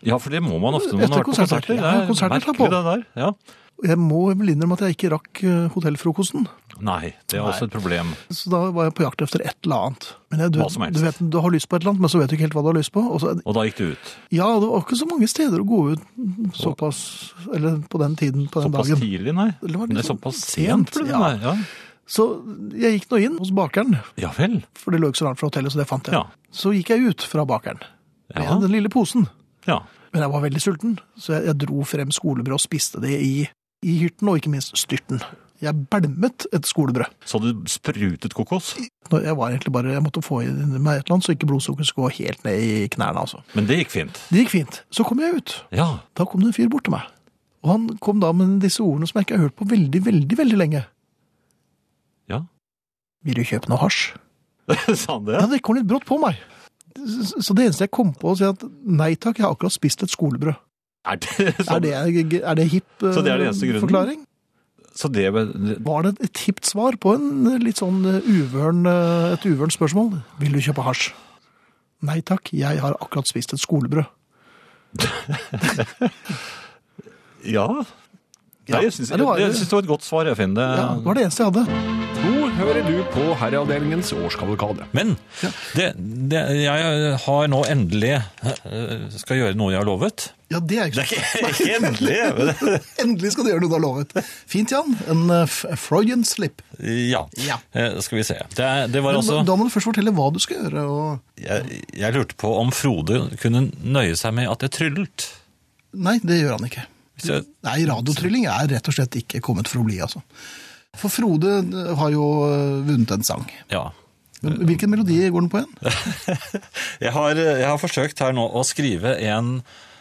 Speaker 7: Ja, for det må man ofte når man
Speaker 3: Etter
Speaker 7: har vært på
Speaker 3: konserter,
Speaker 7: konserter.
Speaker 3: ja,
Speaker 7: Det er
Speaker 3: konserter tar på.
Speaker 7: merkelig, det der. Ja.
Speaker 3: Jeg må vel innrømme at jeg ikke rakk eh, hotellfrokosten.
Speaker 7: Nei, det er også et problem.
Speaker 3: Så da var jeg på jakt efter et eller annet. Men jeg, du,
Speaker 7: Hva som helst.
Speaker 3: du, vet, du har lyst på et eller annet, men så vet du ikke helt hva du har lyst på. Og så,
Speaker 7: Og da gikk du ut.
Speaker 3: ja, det var ikke så mange steder å gå ut såpass Eller på den tiden, på den
Speaker 7: Såpass
Speaker 3: dagen.
Speaker 7: tidlig, nei.
Speaker 3: Eller var det
Speaker 7: Nei,
Speaker 3: liksom
Speaker 7: såpass
Speaker 3: sent,
Speaker 7: sent, ble det,
Speaker 3: ja.
Speaker 7: nei. Ja.
Speaker 3: Så jeg gikk nå inn hos bakeren,
Speaker 7: ja vel.
Speaker 3: for det lå ikke så langt fra hotellet, så det fant jeg.
Speaker 7: Ja.
Speaker 3: Så gikk jeg ut fra bakeren med
Speaker 7: Ja.
Speaker 3: den lille posen.
Speaker 7: Ja.
Speaker 3: Men jeg var veldig sulten, så jeg, jeg dro frem skolebrød og spiste det i, i hyrten, og ikke minst styrten. Jeg belmet et skolebrød.
Speaker 7: Så du sprutet kokos?
Speaker 3: Når Jeg var egentlig bare, jeg måtte få i meg et eller annet, så ikke blodsukkeret skulle gå helt ned i knærne. altså.
Speaker 7: Men det gikk fint.
Speaker 3: Det gikk fint. Så kom jeg ut.
Speaker 7: Ja.
Speaker 3: Da kom det en fyr bort til meg. Og han kom da med disse ordene som jeg ikke har hørt på veldig, veldig veldig lenge.
Speaker 7: Ja.
Speaker 3: Vil du kjøpe noe hasj?
Speaker 7: Sa han det?
Speaker 3: Ja, det kom litt brått på meg. S- Så det eneste jeg kom på, å si at nei takk, jeg har akkurat spist et skolebrød.
Speaker 7: Er det,
Speaker 3: Er det, er det hipp eh,
Speaker 7: Sånn. Så det er den eneste grunnen?
Speaker 3: forklaring?
Speaker 7: Så det,
Speaker 3: Var det et hipt svar på en eh, litt sånn eh, uvøren, eh, et uvørent spørsmål? Vil du kjøpe hasj? Nei takk, jeg har akkurat spist et skolebrød.
Speaker 7: Ja. Nei, jeg syns
Speaker 3: Nei,
Speaker 7: det,
Speaker 3: det var-
Speaker 7: det var et godt svar, jeg finner det.
Speaker 3: Ja, det var det eneste jeg hadde.
Speaker 2: Nå hører du på herreavdelingens årskavalkade.
Speaker 5: Men det, det, jeg har nå endelig eh, skal gjøre noe jeg har lovet.
Speaker 3: Ja, det er ikke
Speaker 5: Endelig?
Speaker 3: Endelig skal du gjøre noe du har lovet. Fint, Jan. En eh, f- Freudian slip.
Speaker 5: Ja.
Speaker 3: Ja.
Speaker 5: Eh, Skal vi se. Det, er- det var
Speaker 3: Men
Speaker 5: altså
Speaker 3: da, da må du først fortelle hva du skal gjøre. Og...
Speaker 5: jeg, jeg lurte på om Frode kunne nøye seg med at jeg tryllet.
Speaker 3: Nei, det gjør han ikke.
Speaker 5: Hvis jeg,
Speaker 3: Nei, radiotrylling er rett og slett ikke kommet for å bli, altså. For Frode eh, har jo eh, vunnet en sang.
Speaker 5: ja.
Speaker 3: Men Hvilken melodi går den på igjen?
Speaker 5: jeg, har, eh, jeg har forsøkt her nå å skrive en,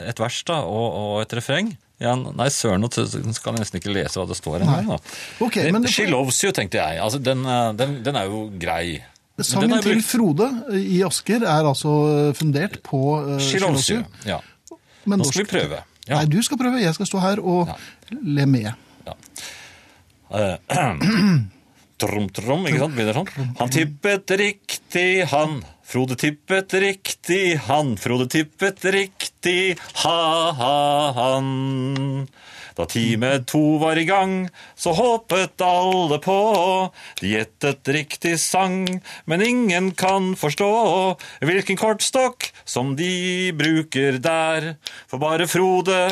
Speaker 5: et vers da, og, og et refreng. Ja, nei, søren, nå skal jeg nesten ikke lese hva det står her. da. Eh,
Speaker 3: Ok, men
Speaker 5: She loves you, tenkte jeg. Altså, den, eh, den, den er jo grei. Men den
Speaker 3: sangen
Speaker 5: er jo
Speaker 3: til
Speaker 5: brukt-
Speaker 3: Frode eh, i Asker er altså eh, fundert på eh,
Speaker 5: She loves you. Ja.
Speaker 3: Men
Speaker 5: Nå skal vi
Speaker 3: norsk-
Speaker 5: prøve. Ja.
Speaker 3: Nei, du skal prøve. Jeg skal stå her og le med.
Speaker 5: Eh, Trom, trom, ikke sant? Begynner sånn. Han tippet riktig, han. Frode tippet riktig, han. Frode tippet riktig, ha, ha, han.
Speaker 7: Da time to var i gang, så hoppet alle på. De gjettet riktig sang, men ingen kan forstå hvilken kortstokk som de bruker der. For bare Frode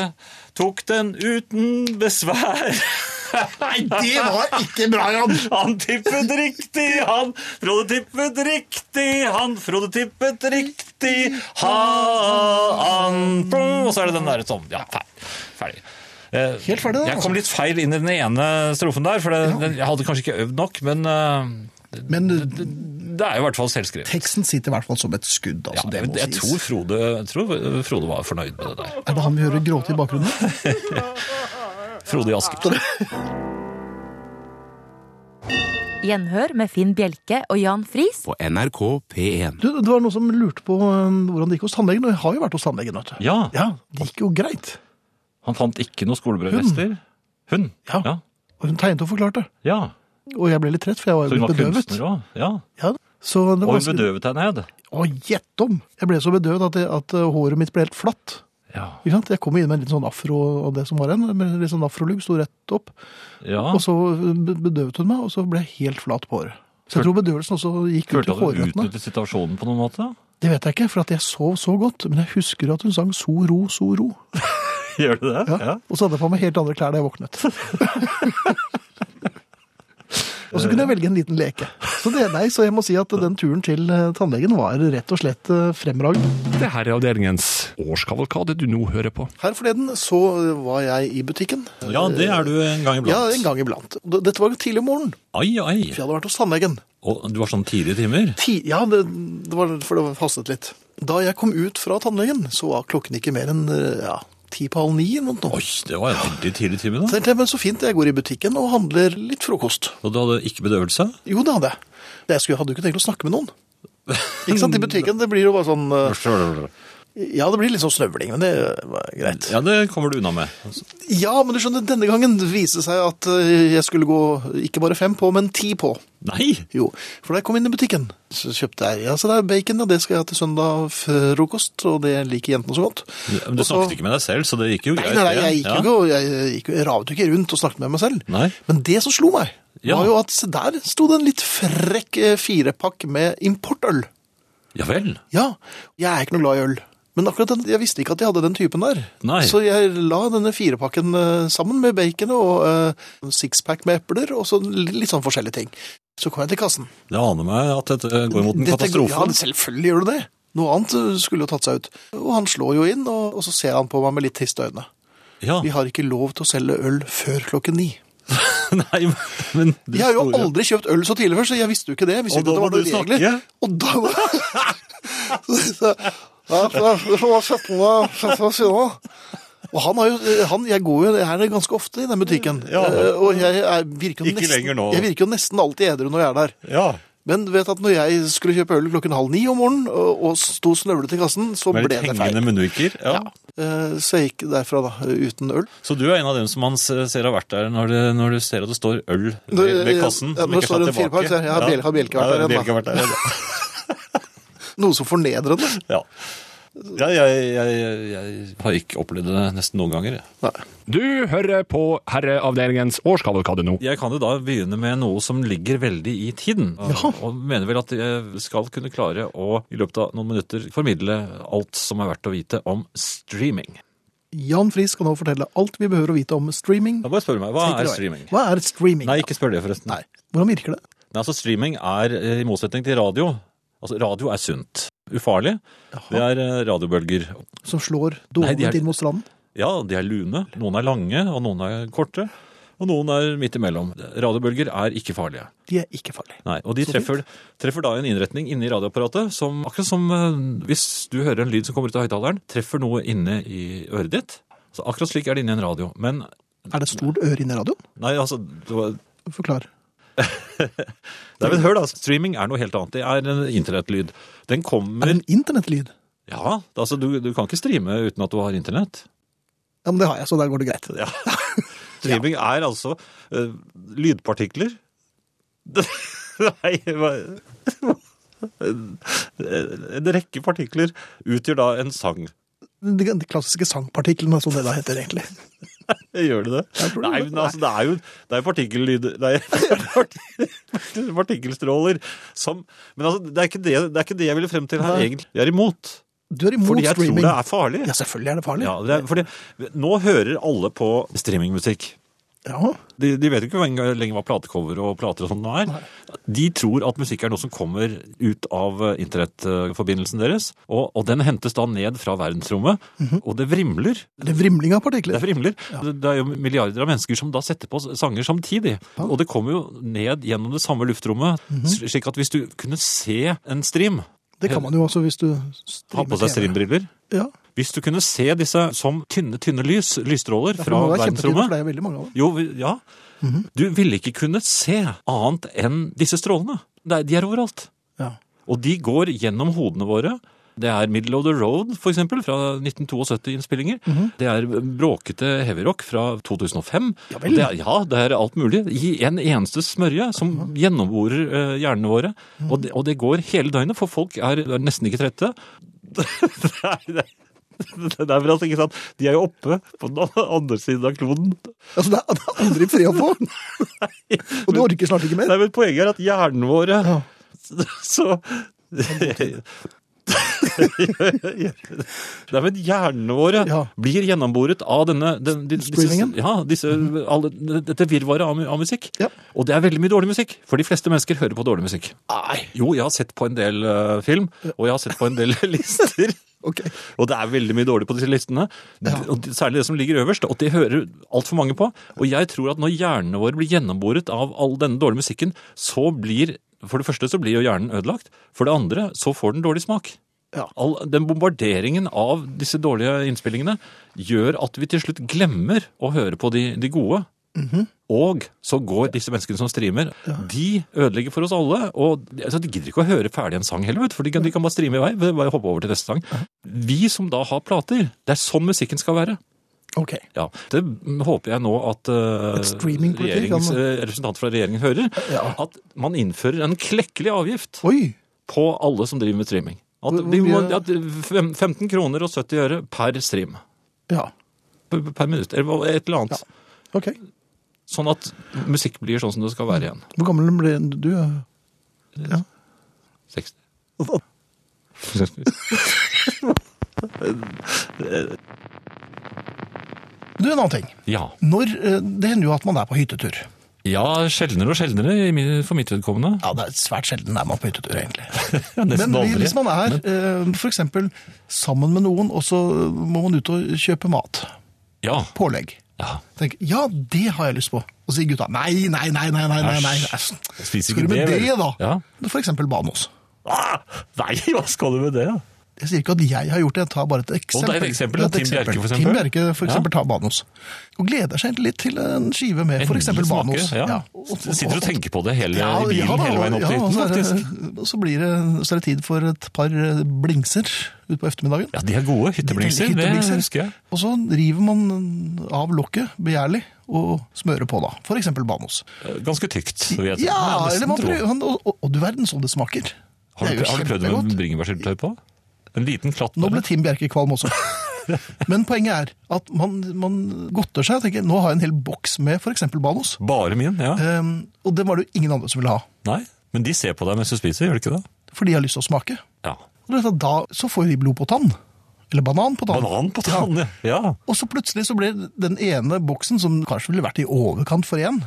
Speaker 7: tok den uten besvær. Nei,
Speaker 3: Det var ikke bra, Jan!
Speaker 7: han tippet riktig, han. Frode tippet riktig, han. Frode tippet riktig, han. Og så er det den derre sånn. Ja, fer- ferdig. Eh,
Speaker 3: Helt ferdig der,
Speaker 7: Jeg kom
Speaker 3: altså.
Speaker 7: litt feil inn i den ene strofen der, for det, den, jeg hadde kanskje ikke øvd nok, men eh,
Speaker 3: Men
Speaker 7: det, det er jo i hvert fall selvskrevet.
Speaker 3: teksten sitter i hvert fall som et skudd.
Speaker 7: Ja,
Speaker 3: Altså, det
Speaker 7: jeg,
Speaker 3: må
Speaker 7: jeg,
Speaker 3: sies.
Speaker 7: tror Frode, jeg tror Frode var fornøyd med det der.
Speaker 3: Er det han vi hører gråte i bakgrunnen?
Speaker 7: Frode i Asker.
Speaker 10: Gjenhør med Finn Bjelke og Jan Friis.
Speaker 6: På NRK P1.
Speaker 3: Du, det var noen som lurte på um, hvordan det gikk hos tannlegen, og jeg har jo vært hos tannlegen, vet du.
Speaker 7: Ja,
Speaker 3: Ja, det gikk jo greit.
Speaker 7: han fant ikke noe skolebrødrester. Hun.
Speaker 3: Ja.
Speaker 7: Ja.
Speaker 3: Og hun tegnet og forklarte.
Speaker 7: ja.
Speaker 3: Og jeg ble litt trett, for jeg var
Speaker 7: Så hun
Speaker 3: jo
Speaker 7: var
Speaker 3: bedøvet.
Speaker 7: kunstner òg. Ja.
Speaker 3: Ja, så det
Speaker 7: Og
Speaker 3: var
Speaker 7: hun bedøvet deg ned.
Speaker 3: Å, gjett om! Jeg ble så bedøvet at, det, at uh, håret mitt ble helt flatt.
Speaker 7: Ja.
Speaker 3: Ikke sant? Jeg kom inn med en liten sånn afro og det som var en, med en litt sånn afrolugg, sto rett opp.
Speaker 7: ja.
Speaker 3: Og så be- bedøvet hun meg, og så ble jeg helt flat på håret. Så jeg tror bedøvelsen også gikk ut
Speaker 7: Følte
Speaker 3: i
Speaker 7: at du
Speaker 3: hårrøttene.
Speaker 7: utnyttet situasjonen på noen måte?
Speaker 3: Det vet jeg ikke, for at jeg sov så godt. Men jeg husker at hun sang So ro, so ro.
Speaker 7: Gjør du det?
Speaker 3: Ja. Og så hadde jeg på meg helt andre klær da jeg våknet. og så kunne jeg velge en liten leke. Så, det, nei, så jeg må si at den turen til eh, tannlegen var rett og slett eh, fremragende.
Speaker 2: Det er herreavdelingens årskavalkade du nå hører på.
Speaker 3: Her forleden så eh, var jeg i butikken.
Speaker 7: Ja, det er du en gang
Speaker 3: Ja,
Speaker 7: iblant.
Speaker 3: en gang iblant. Og det- Dette var jo tidlig om morgenen,
Speaker 7: Ai, ai.
Speaker 3: for jeg hadde vært hos tannlegen.
Speaker 7: Og du var sånn tidlige timer?
Speaker 3: Ti, ja, det, det var, for det hastet litt. Da jeg kom ut fra tannlegen, så var klokken ikke mer enn eh, ja, ti på halv ni eller noe.
Speaker 7: Oi, det var en veldig tidlig time
Speaker 3: Så
Speaker 7: da.
Speaker 3: tenkte jeg, men så fint, jeg går i butikken og handler litt frokost.
Speaker 7: Og du hadde ikke bedøvelse?
Speaker 3: Jo, det hadde jeg. Det jeg skulle, hadde jo ikke tenkt å snakke med noen. Ikke sant, I butikken det blir jo bare sånn eh, Ja, det blir litt sånn snøvling, men det var greit.
Speaker 7: Ja, det kommer du unna med. Altså,
Speaker 3: Ja, men du skjønner, denne gangen viste det seg at eh, jeg skulle gå ikke bare fem på, men ti på.
Speaker 7: Nei!
Speaker 3: Jo, for da jeg kom inn i butikken, så kjøpte jeg ja, så det er bacon, og det skal jeg ha til søndag frokost, og det liker jentene så godt.
Speaker 7: Men du snakket ikke med deg selv, så det gikk jo
Speaker 3: Nei,
Speaker 7: greit.
Speaker 3: nei, nei,
Speaker 7: det.
Speaker 3: jeg gikk jo
Speaker 7: Ja.
Speaker 3: ikke, og jeg, gikk, jo- jeg ravet jo ikke rundt og snakket med meg selv.
Speaker 7: Nei.
Speaker 3: Men det som slo meg,
Speaker 7: Ja.
Speaker 3: var jo at se der sto det en litt frekk eh, firepakk med importøl.
Speaker 7: Ja vel.
Speaker 3: Ja, jeg er ikke noe glad i øl. Men akkurat den, jeg visste ikke at jeg hadde den typen der.
Speaker 7: Nei.
Speaker 3: Så jeg la denne firepakken eh, sammen med bacon og eh, sixpack med epler, og så li- litt sånn forskjellige ting. Så kom jeg til kassen.
Speaker 7: Det aner meg at dette går mot en
Speaker 3: Dette- Ja,
Speaker 7: katastrofe.
Speaker 3: selvfølgelig gjør du det. Noe annet eh, skulle jo tatt seg ut. Og han slår jo inn, og, og så ser han på meg med litt triste øyne.
Speaker 7: Ja,
Speaker 3: Vi har ikke lov til å selge øl før klokken ni.
Speaker 7: nei, men du
Speaker 3: Jeg har jo
Speaker 7: store-
Speaker 3: aldri kjøpt øl så tidlig før, så jeg visste jo ikke det. Jeg visste
Speaker 7: Og
Speaker 3: ikke
Speaker 7: da
Speaker 3: at det
Speaker 7: må
Speaker 3: var noen
Speaker 7: du snakke.
Speaker 3: regler. Og da var Så- ja, så- så var 17. 17. siden. Og han har jo, han, jeg går jo her ganske ofte i den butikken.
Speaker 7: Ja.
Speaker 3: Eh, Og jeg, er- virker jo
Speaker 7: Ikke lenger
Speaker 3: nesten,
Speaker 7: nå.
Speaker 3: jeg virker jo nesten alltid edru når jeg er der.
Speaker 7: Ja,
Speaker 3: Men du vet at når jeg skulle kjøpe øl klokken halv ni om morgenen, og, og sto snøvlete i kassen, så
Speaker 7: med
Speaker 3: ble
Speaker 7: litt
Speaker 3: det feil.
Speaker 7: hengende munnviker. Ja.
Speaker 3: Eh, Så jeg gikk derfra da, uten øl.
Speaker 7: Så du er en av dem som man se- ser har vært der når du, når du ser at det står øl
Speaker 3: Når-
Speaker 7: ved, ved kassen?
Speaker 3: ja,
Speaker 7: som
Speaker 3: når
Speaker 7: ikke
Speaker 3: står
Speaker 7: er
Speaker 3: en
Speaker 7: tatt
Speaker 3: firepakk,
Speaker 7: tilbake?
Speaker 3: så er det, ja, Bjelke- har Bjelke vært
Speaker 7: Ja,
Speaker 3: der igjen, da?
Speaker 7: Bjelke har vært der igjen, da.
Speaker 3: Noe så fornedrende.
Speaker 7: Ja. Ja, jeg, jeg, jeg, jeg har ikke opplevd det nesten noen ganger. jeg.
Speaker 3: Nei.
Speaker 2: Du hører på herreavdelingens årskavalkade nå.
Speaker 5: Jeg kan jo da begynne med noe som ligger veldig i tiden. Og mener vel at jeg skal kunne klare å i løpet av noen minutter formidle alt som er verdt å vite om streaming.
Speaker 3: Jan Friis skal nå fortelle alt vi behøver å vite om streaming.
Speaker 5: Da bare spør du meg, Hva er streaming?
Speaker 3: Hva er streaming?
Speaker 5: Nei, ikke spør det, forresten.
Speaker 3: Nei. Hvordan virker det?
Speaker 5: Nei, altså Streaming er, eh, i motsetning til radio Altså, Radio er sunt. Ufarlig. Det er eh, radiobølger.
Speaker 3: Som slår
Speaker 5: Nei, de er-
Speaker 3: dårlig inn mot stranden?
Speaker 5: Ja, de er lune. Noen er lange, og noen er korte. Og noen er midt imellom. Radiobølger er ikke farlige.
Speaker 3: De er ikke farlige.
Speaker 5: Nei, Og de
Speaker 3: Så
Speaker 5: treffer, treffer da en innretning inni radioapparatet som akkurat som eh, hvis du hører en lyd som kommer ut av høyttaleren, treffer noe inne i øret ditt. Så akkurat slik er det inni en radio. Men
Speaker 3: Er det et stort øre inne i radioen?
Speaker 5: nei, altså det var-
Speaker 3: Forklar.
Speaker 5: Nei, men hør da, Streaming er noe helt annet. Det er en internettlyd. Den
Speaker 3: Er
Speaker 5: kommer
Speaker 3: det en internettlyd?
Speaker 5: Ja, altså du, du kan ikke streame uten at du har internett.
Speaker 3: Ja, men det har jeg, så der går det greit.
Speaker 5: Ja. Streaming er altså eh, lydpartikler. Nei, hva- En rekke partikler utgjør da en sang.
Speaker 3: sånn De de klassiske sangpartiklene, som det da heter egentlig.
Speaker 5: Gjør det det? Nei, men altså, det er jo det er jo partikkellyder Det er parti- partikkelstråler som Men altså, det er ikke det, det, er ikke det jeg ville frem til her,
Speaker 3: Nei.
Speaker 5: egentlig. Jeg er imot.
Speaker 3: Du er imot
Speaker 5: Fordi jeg
Speaker 3: streaming.
Speaker 5: tror det er farlig.
Speaker 3: Ja, selvfølgelig er det farlig.
Speaker 5: Ja, det er, fordi nå hører alle på streamingmusikk.
Speaker 3: Ja.
Speaker 5: De, de vet jo ikke engang lenger hva platecover og plater og sånt nå er. De tror at musikk er noe som kommer ut av eh, internettforbindelsen deres, og, og den hentes da ned fra verdensrommet,
Speaker 3: Mhm.
Speaker 5: og det vrimler.
Speaker 3: Det er vrimling av
Speaker 5: Det
Speaker 3: partikler.
Speaker 5: vrimler. Det det er jo milliarder av mennesker som da setter på sanger samtidig. Og det kommer jo ned gjennom det samme luftrommet,
Speaker 3: Mhm.
Speaker 5: sl- slik at hvis du kunne se en stream,
Speaker 3: Det kan man jo også hvis du
Speaker 5: ha på deg
Speaker 3: streamer TV.
Speaker 5: streambriller,
Speaker 3: Ja,
Speaker 5: hvis du kunne se disse som tynne, tynne lys, lysstråler
Speaker 3: for
Speaker 5: fra
Speaker 3: nå er det kjempetid, for
Speaker 5: verdensrommet,
Speaker 3: det er veldig mange av dem.
Speaker 5: Jo, vi- ja.
Speaker 3: Mhm.
Speaker 5: Du ville ikke kunnet se annet enn disse strålene. Det er- De er overalt.
Speaker 3: Ja.
Speaker 5: Og de går gjennom hodene våre. Det er Middle of the Road, for eksempel, fra 1972-innspillinger.
Speaker 3: Mhm.
Speaker 5: Det er bråkete heavyrock fra 2005.
Speaker 3: Ja vel.
Speaker 5: Det er, ja, det er alt mulig. I en eneste smørje som
Speaker 3: Mhm.
Speaker 5: gjennomborer eh, hjernene våre. Og, det, og det går hele døgnet, for folk er, er nesten ikke trette. det er, det er det er vel altså ikke sant? De er jo oppe på den andre siden av kloden.
Speaker 3: Altså, det er, det er aldri fred å få. Og du orker snart ikke mer.
Speaker 5: Nei, men poenget er at hjernen våre
Speaker 3: Ja.
Speaker 5: Så Nei, men hjernene våre
Speaker 3: Ja.
Speaker 5: blir gjennomboret av denne den, de- disse,
Speaker 3: Streamingen?
Speaker 5: ja, disse, alle, dette virvaret av, mu- av musikk.
Speaker 3: Ja.
Speaker 5: Og det er veldig mye dårlig musikk, for de fleste mennesker hører på dårlig musikk.
Speaker 3: Nei.
Speaker 5: Jo, jeg har sett på en del eh, film, og jeg har sett på en del lister.
Speaker 3: Ok.
Speaker 5: Og det er veldig mye dårlig på disse listene.
Speaker 3: Ja.
Speaker 5: Og det- Særlig det som ligger øverst, og det hører altfor mange på. Og jeg tror at når hjernene våre blir gjennomboret av all denne dårlige musikken, så blir For det første så blir jo hjernen ødelagt. For det andre så får den dårlig smak.
Speaker 3: Ja.
Speaker 5: All, den bombarderingen av disse dårlige innspillingene gjør at vi til slutt glemmer å høre på de, de gode.
Speaker 3: Mhm.
Speaker 5: Og så går disse menneskene som streamer, de ødelegger for oss alle. Og de- altså, de gidder ikke å høre ferdig en sang heller, vet du, for de kan, de kan bare streame i vei. Bare hoppe over til neste sang. Vi som da har plater, det er sånn musikken skal være.
Speaker 3: Ok.
Speaker 5: Ja, Det håper jeg nå at eh,
Speaker 3: Et streamingpolitikk,
Speaker 5: regjerings-
Speaker 3: ja,
Speaker 5: eh, representanter fra regjeringen hører.
Speaker 3: Ja.
Speaker 5: At man innfører en klekkelig avgift
Speaker 3: Oi.
Speaker 5: på alle som driver med streaming. At,
Speaker 3: Hvor- hvor
Speaker 5: vi må,
Speaker 3: mye-
Speaker 5: at fem- 15 kroner og 70 øre per stream.
Speaker 3: Ja.
Speaker 5: Per per minutt, eller et eller annet.
Speaker 3: Ok.
Speaker 5: Sånn at musikk blir sånn som det skal være igjen.
Speaker 3: Hvor gammel ble du? ja?
Speaker 5: 60.
Speaker 3: Du, en annen ting.
Speaker 5: Ja.
Speaker 3: Når, eh, det hender jo at man er på hyttetur.
Speaker 5: ja, sjeldnere og sjeldnere i min- for mitt vedkommende.
Speaker 3: Ja, det er svært sjelden er man på hyttetur, egentlig.
Speaker 5: Ja, nesten
Speaker 3: Men
Speaker 5: aldri.
Speaker 3: hvis man er eh, for eksempel sammen med noen, og så må man ut og kjøpe mat,
Speaker 5: Ja.
Speaker 3: pålegg.
Speaker 5: ja.
Speaker 3: Tenk, ja, det har jeg lyst på. Og så sier gutta nei, nei, nei, nei, nei, nei, nei. Æsj.
Speaker 5: Jeg spiser
Speaker 3: Skal du med det,
Speaker 5: vel?
Speaker 3: da?
Speaker 5: Ja.
Speaker 3: For eksempel Banos.
Speaker 5: Ah, nei, hva skal du med det? da?
Speaker 3: Jeg sier ikke at jeg har gjort det, jeg tar bare et eksempel.
Speaker 5: det er et eksempel,
Speaker 3: Ja,
Speaker 5: Tim Bjerke, for
Speaker 3: Tim
Speaker 5: eksempel.
Speaker 3: Bjerke, for
Speaker 5: Ja.
Speaker 3: eksempel, tar Banos. Og gleder seg egentlig litt til en skive med
Speaker 5: En
Speaker 3: for eksempel
Speaker 5: liten smake,
Speaker 3: Banos.
Speaker 5: Ja.
Speaker 3: Og-
Speaker 5: Sitter og tenker på det hele,
Speaker 3: Ja,
Speaker 5: i bilen
Speaker 3: ja da,
Speaker 5: hele veien opp
Speaker 3: ja,
Speaker 5: til
Speaker 3: og
Speaker 5: hytten,
Speaker 3: så er det-
Speaker 5: faktisk.
Speaker 3: Og så, blir det, så er det tid for et par eh, blingser utpå ettermiddagen.
Speaker 5: Ja, de er gode. Hytteblinser, det
Speaker 3: Hytteblinser.
Speaker 5: husker jeg.
Speaker 3: Og så river man av lokket begjærlig og smører på, da. For eksempel Banos.
Speaker 5: Ganske tykt. vil jeg tro.
Speaker 3: Ja,
Speaker 5: nesten
Speaker 3: eller man
Speaker 5: tro.
Speaker 3: prøver, han- og, og, og du verden som det smaker.
Speaker 5: Har
Speaker 3: Det er
Speaker 5: du,
Speaker 3: jo
Speaker 5: har du prøvd det med
Speaker 3: kjempegodt.
Speaker 5: bringebærsyltetøy på? En liten klatt?
Speaker 3: Nå ble
Speaker 5: bare.
Speaker 3: Tim Bjerke kvalm også. Men poenget er at man, man godter seg og tenker nå har jeg en hel boks med f.eks. Banos.
Speaker 5: Bare min, ja.
Speaker 3: Ehm, og det var det jo ingen andre som ville ha.
Speaker 5: Nei, men de ser på deg mens du spiser, gjør de ikke det?
Speaker 3: For de har lyst til å smake.
Speaker 5: Ja.
Speaker 3: Og du vet at da så får de blod på tann. Eller banan på tann.
Speaker 5: Banan på tann, ja. ja.
Speaker 3: Og så plutselig så blir den ene boksen, som kanskje ville vært i overkant for én,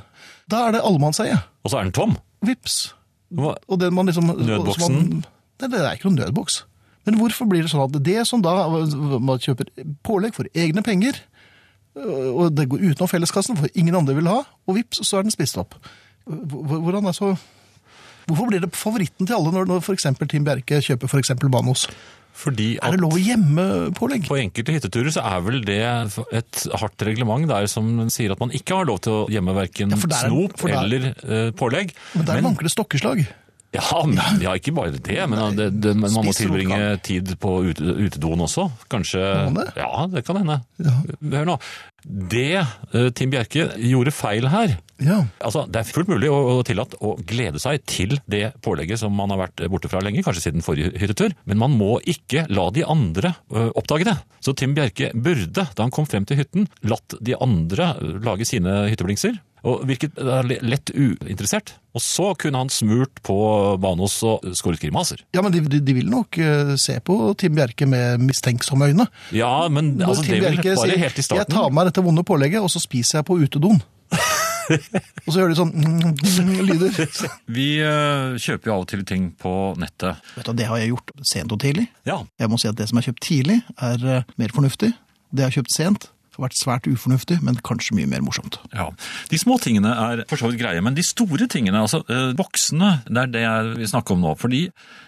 Speaker 3: da er det allemannseie.
Speaker 5: Og så er den tom.
Speaker 3: Vips.
Speaker 5: Hva-
Speaker 3: Og den man liksom
Speaker 5: Nødboksen?
Speaker 3: som Man, nei, det er ikke noen nødboks. Men hvorfor blir det sånn at det som da man kjøper pålegg for egne penger, øh, og det går utenom felleskassen, for ingen andre vil ha, og vips, så er den spist opp. Hvor- Hvordan er så... Hvorfor blir det favoritten til alle når, når for eksempel Tim Bjerke kjøper for eksempel Banos?
Speaker 5: Fordi
Speaker 3: Er
Speaker 5: at
Speaker 3: det lov å gjemme pålegg?
Speaker 5: på enkelte hytteturer så er vel det et hardt reglement der som sier at man ikke har lov til å gjemme verken
Speaker 3: for der er-
Speaker 5: snop
Speaker 3: for der-
Speaker 5: eller eh, pålegg.
Speaker 3: Men der vanker det stokkeslag.
Speaker 11: Ja, men, ja, ikke bare det, men det, det, men man må
Speaker 3: Spiser du
Speaker 11: tilbringe tid på ute, utedoen også. Kanskje
Speaker 3: Må man det?
Speaker 11: Ja, det kan hende. Hør nå. Det eh, Tim Bjerke gjorde feil her
Speaker 3: Ja.
Speaker 11: Altså, Det er fullt mulig og, og tillatt å glede seg til det pålegget som man har vært borte fra lenge, kanskje siden forrige hyttetur, men man må ikke la de andre ø, oppdage det. Så Tim Bjerke burde, da han kom frem til hytten, latt de andre ø, lage sine hytteblingser. Og virket ø, lett uinteressert. Og så kunne han smurt på Banos og skåret grimaser.
Speaker 3: ja, men de, de, de vil nok eh, se på Tim Bjerke med mistenksomme øyne.
Speaker 11: Ja, men
Speaker 3: Når
Speaker 11: altså,
Speaker 3: Tim
Speaker 11: det vil
Speaker 3: Bjerke
Speaker 11: bare
Speaker 3: sier,
Speaker 11: helt i
Speaker 3: Jeg tar
Speaker 11: starten.
Speaker 3: med meg dette vonde pålegget, og så spiser jeg på utedoen. og så gjør de sånn mm, mm, lyder.
Speaker 12: Vi eh, kjøper jo av og til ting på nettet.
Speaker 3: Vet du, Det har jeg gjort sent og tidlig.
Speaker 11: Ja,
Speaker 3: Jeg må si at det som er kjøpt tidlig, er eh, mer fornuftig. Det jeg har kjøpt sent, har vært svært ufornuftig, men kanskje mye mer morsomt.
Speaker 12: Ja. De små tingene er for så vidt greie, men de store tingene, altså eh, boksene, det er det jeg vil snakke om nå. Fordi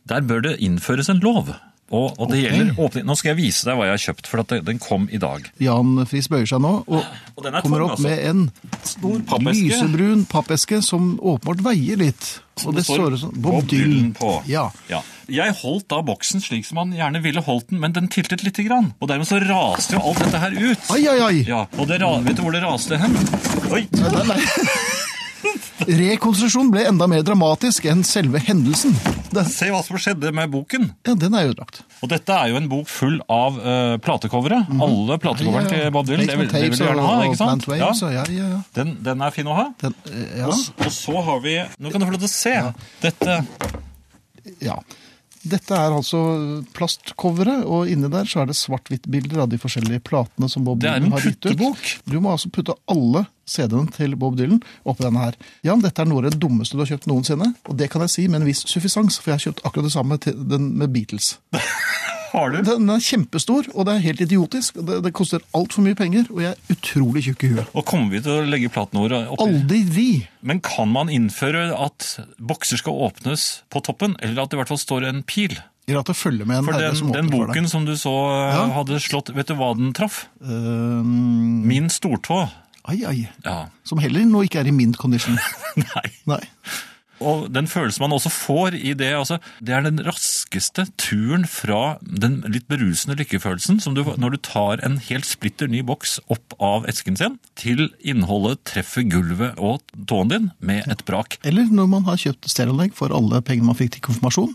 Speaker 12: der bør det innføres en lov. Og, og det
Speaker 3: Ok.
Speaker 12: gjelder åpning. Nå skal jeg vise deg hva jeg har kjøpt, for at det, den kom i dag.
Speaker 3: Jan Friis bøyer seg nå, og
Speaker 12: Og den er
Speaker 3: kommer
Speaker 12: tung,
Speaker 3: opp
Speaker 12: altså.
Speaker 3: med en
Speaker 12: Stor pappeske.
Speaker 3: lysebrun pappeske som åpenbart veier litt. Og det, står sånn Bob, Dylan.
Speaker 12: på.
Speaker 3: Ja.
Speaker 12: Ja. Jeg holdt da boksen slik som man gjerne ville holdt den, men den tiltet lite grann. Og dermed så raste jo alt dette her ut.
Speaker 3: Ai, ai, ai!
Speaker 12: Ja, og det ra vet du hvor det raste hen? Oi!
Speaker 3: Rekonstruksjonen ble enda mer dramatisk enn selve hendelsen. Den,
Speaker 12: Se hva som skjedde med boken.
Speaker 3: ja, den er ødelagt.
Speaker 12: Og dette er jo en bok full av uh, platecovere.
Speaker 3: Mhm.
Speaker 12: Alle platecoverne til Bob Dylan. Det vil, det vil du gjerne ha, ikke sant?
Speaker 3: Ja.
Speaker 12: Ja,
Speaker 3: ja, ja, ja.
Speaker 12: den, den er fin å ha.
Speaker 3: Den, eh, ja,
Speaker 12: Og s- Og så har vi Nå kan du få lov til å se. Dette
Speaker 3: ja. Dette er altså plastcoveret, og inni der så er det svart-hvitt-bilder av de forskjellige platene som Bob
Speaker 12: Det er
Speaker 3: Dylan
Speaker 12: en
Speaker 3: har gitt ut.
Speaker 12: puttebok.
Speaker 3: Du må altså putte alle CD-ene til Bob Dylan oppi denne her. Jan, dette er noe av det dummeste du har kjøpt noensinne, og det kan jeg si med en viss suffisans, for jeg har kjøpt akkurat det samme til den med Beatles.
Speaker 12: har du.
Speaker 3: Den er kjempestor, og det er helt idiotisk. og Det, det koster altfor mye penger, og jeg er utrolig tjukk i huet.
Speaker 12: Og kommer vi til å legge platene våre oppi?
Speaker 3: Aldri vi!
Speaker 12: Men kan man innføre at bokser skal åpnes på toppen, eller at det i hvert fall står en pil?
Speaker 3: Eller at det følger med en
Speaker 12: For
Speaker 3: herre
Speaker 12: den,
Speaker 3: som
Speaker 12: den
Speaker 3: åpner for deg.
Speaker 12: boken som du så eh,
Speaker 3: Ja.
Speaker 12: hadde slått Vet du hva den traff?
Speaker 3: Øhm,
Speaker 12: Min stortå.
Speaker 3: Eh, ai, ai.
Speaker 12: Ja.
Speaker 3: Som heller nå ikke er i mint condition.
Speaker 12: Nei.
Speaker 3: Nei.
Speaker 12: Og den følelsen man også får i det, altså, det er den raskeste turen fra den litt berusende lykkefølelsen, som du, når du tar en helt splitter ny boks opp av esken sin, til innholdet treffer gulvet og tåen din med et brak.
Speaker 3: Eller når man har kjøpt stereoanlegg for alle pengene man fikk til konfirmasjon.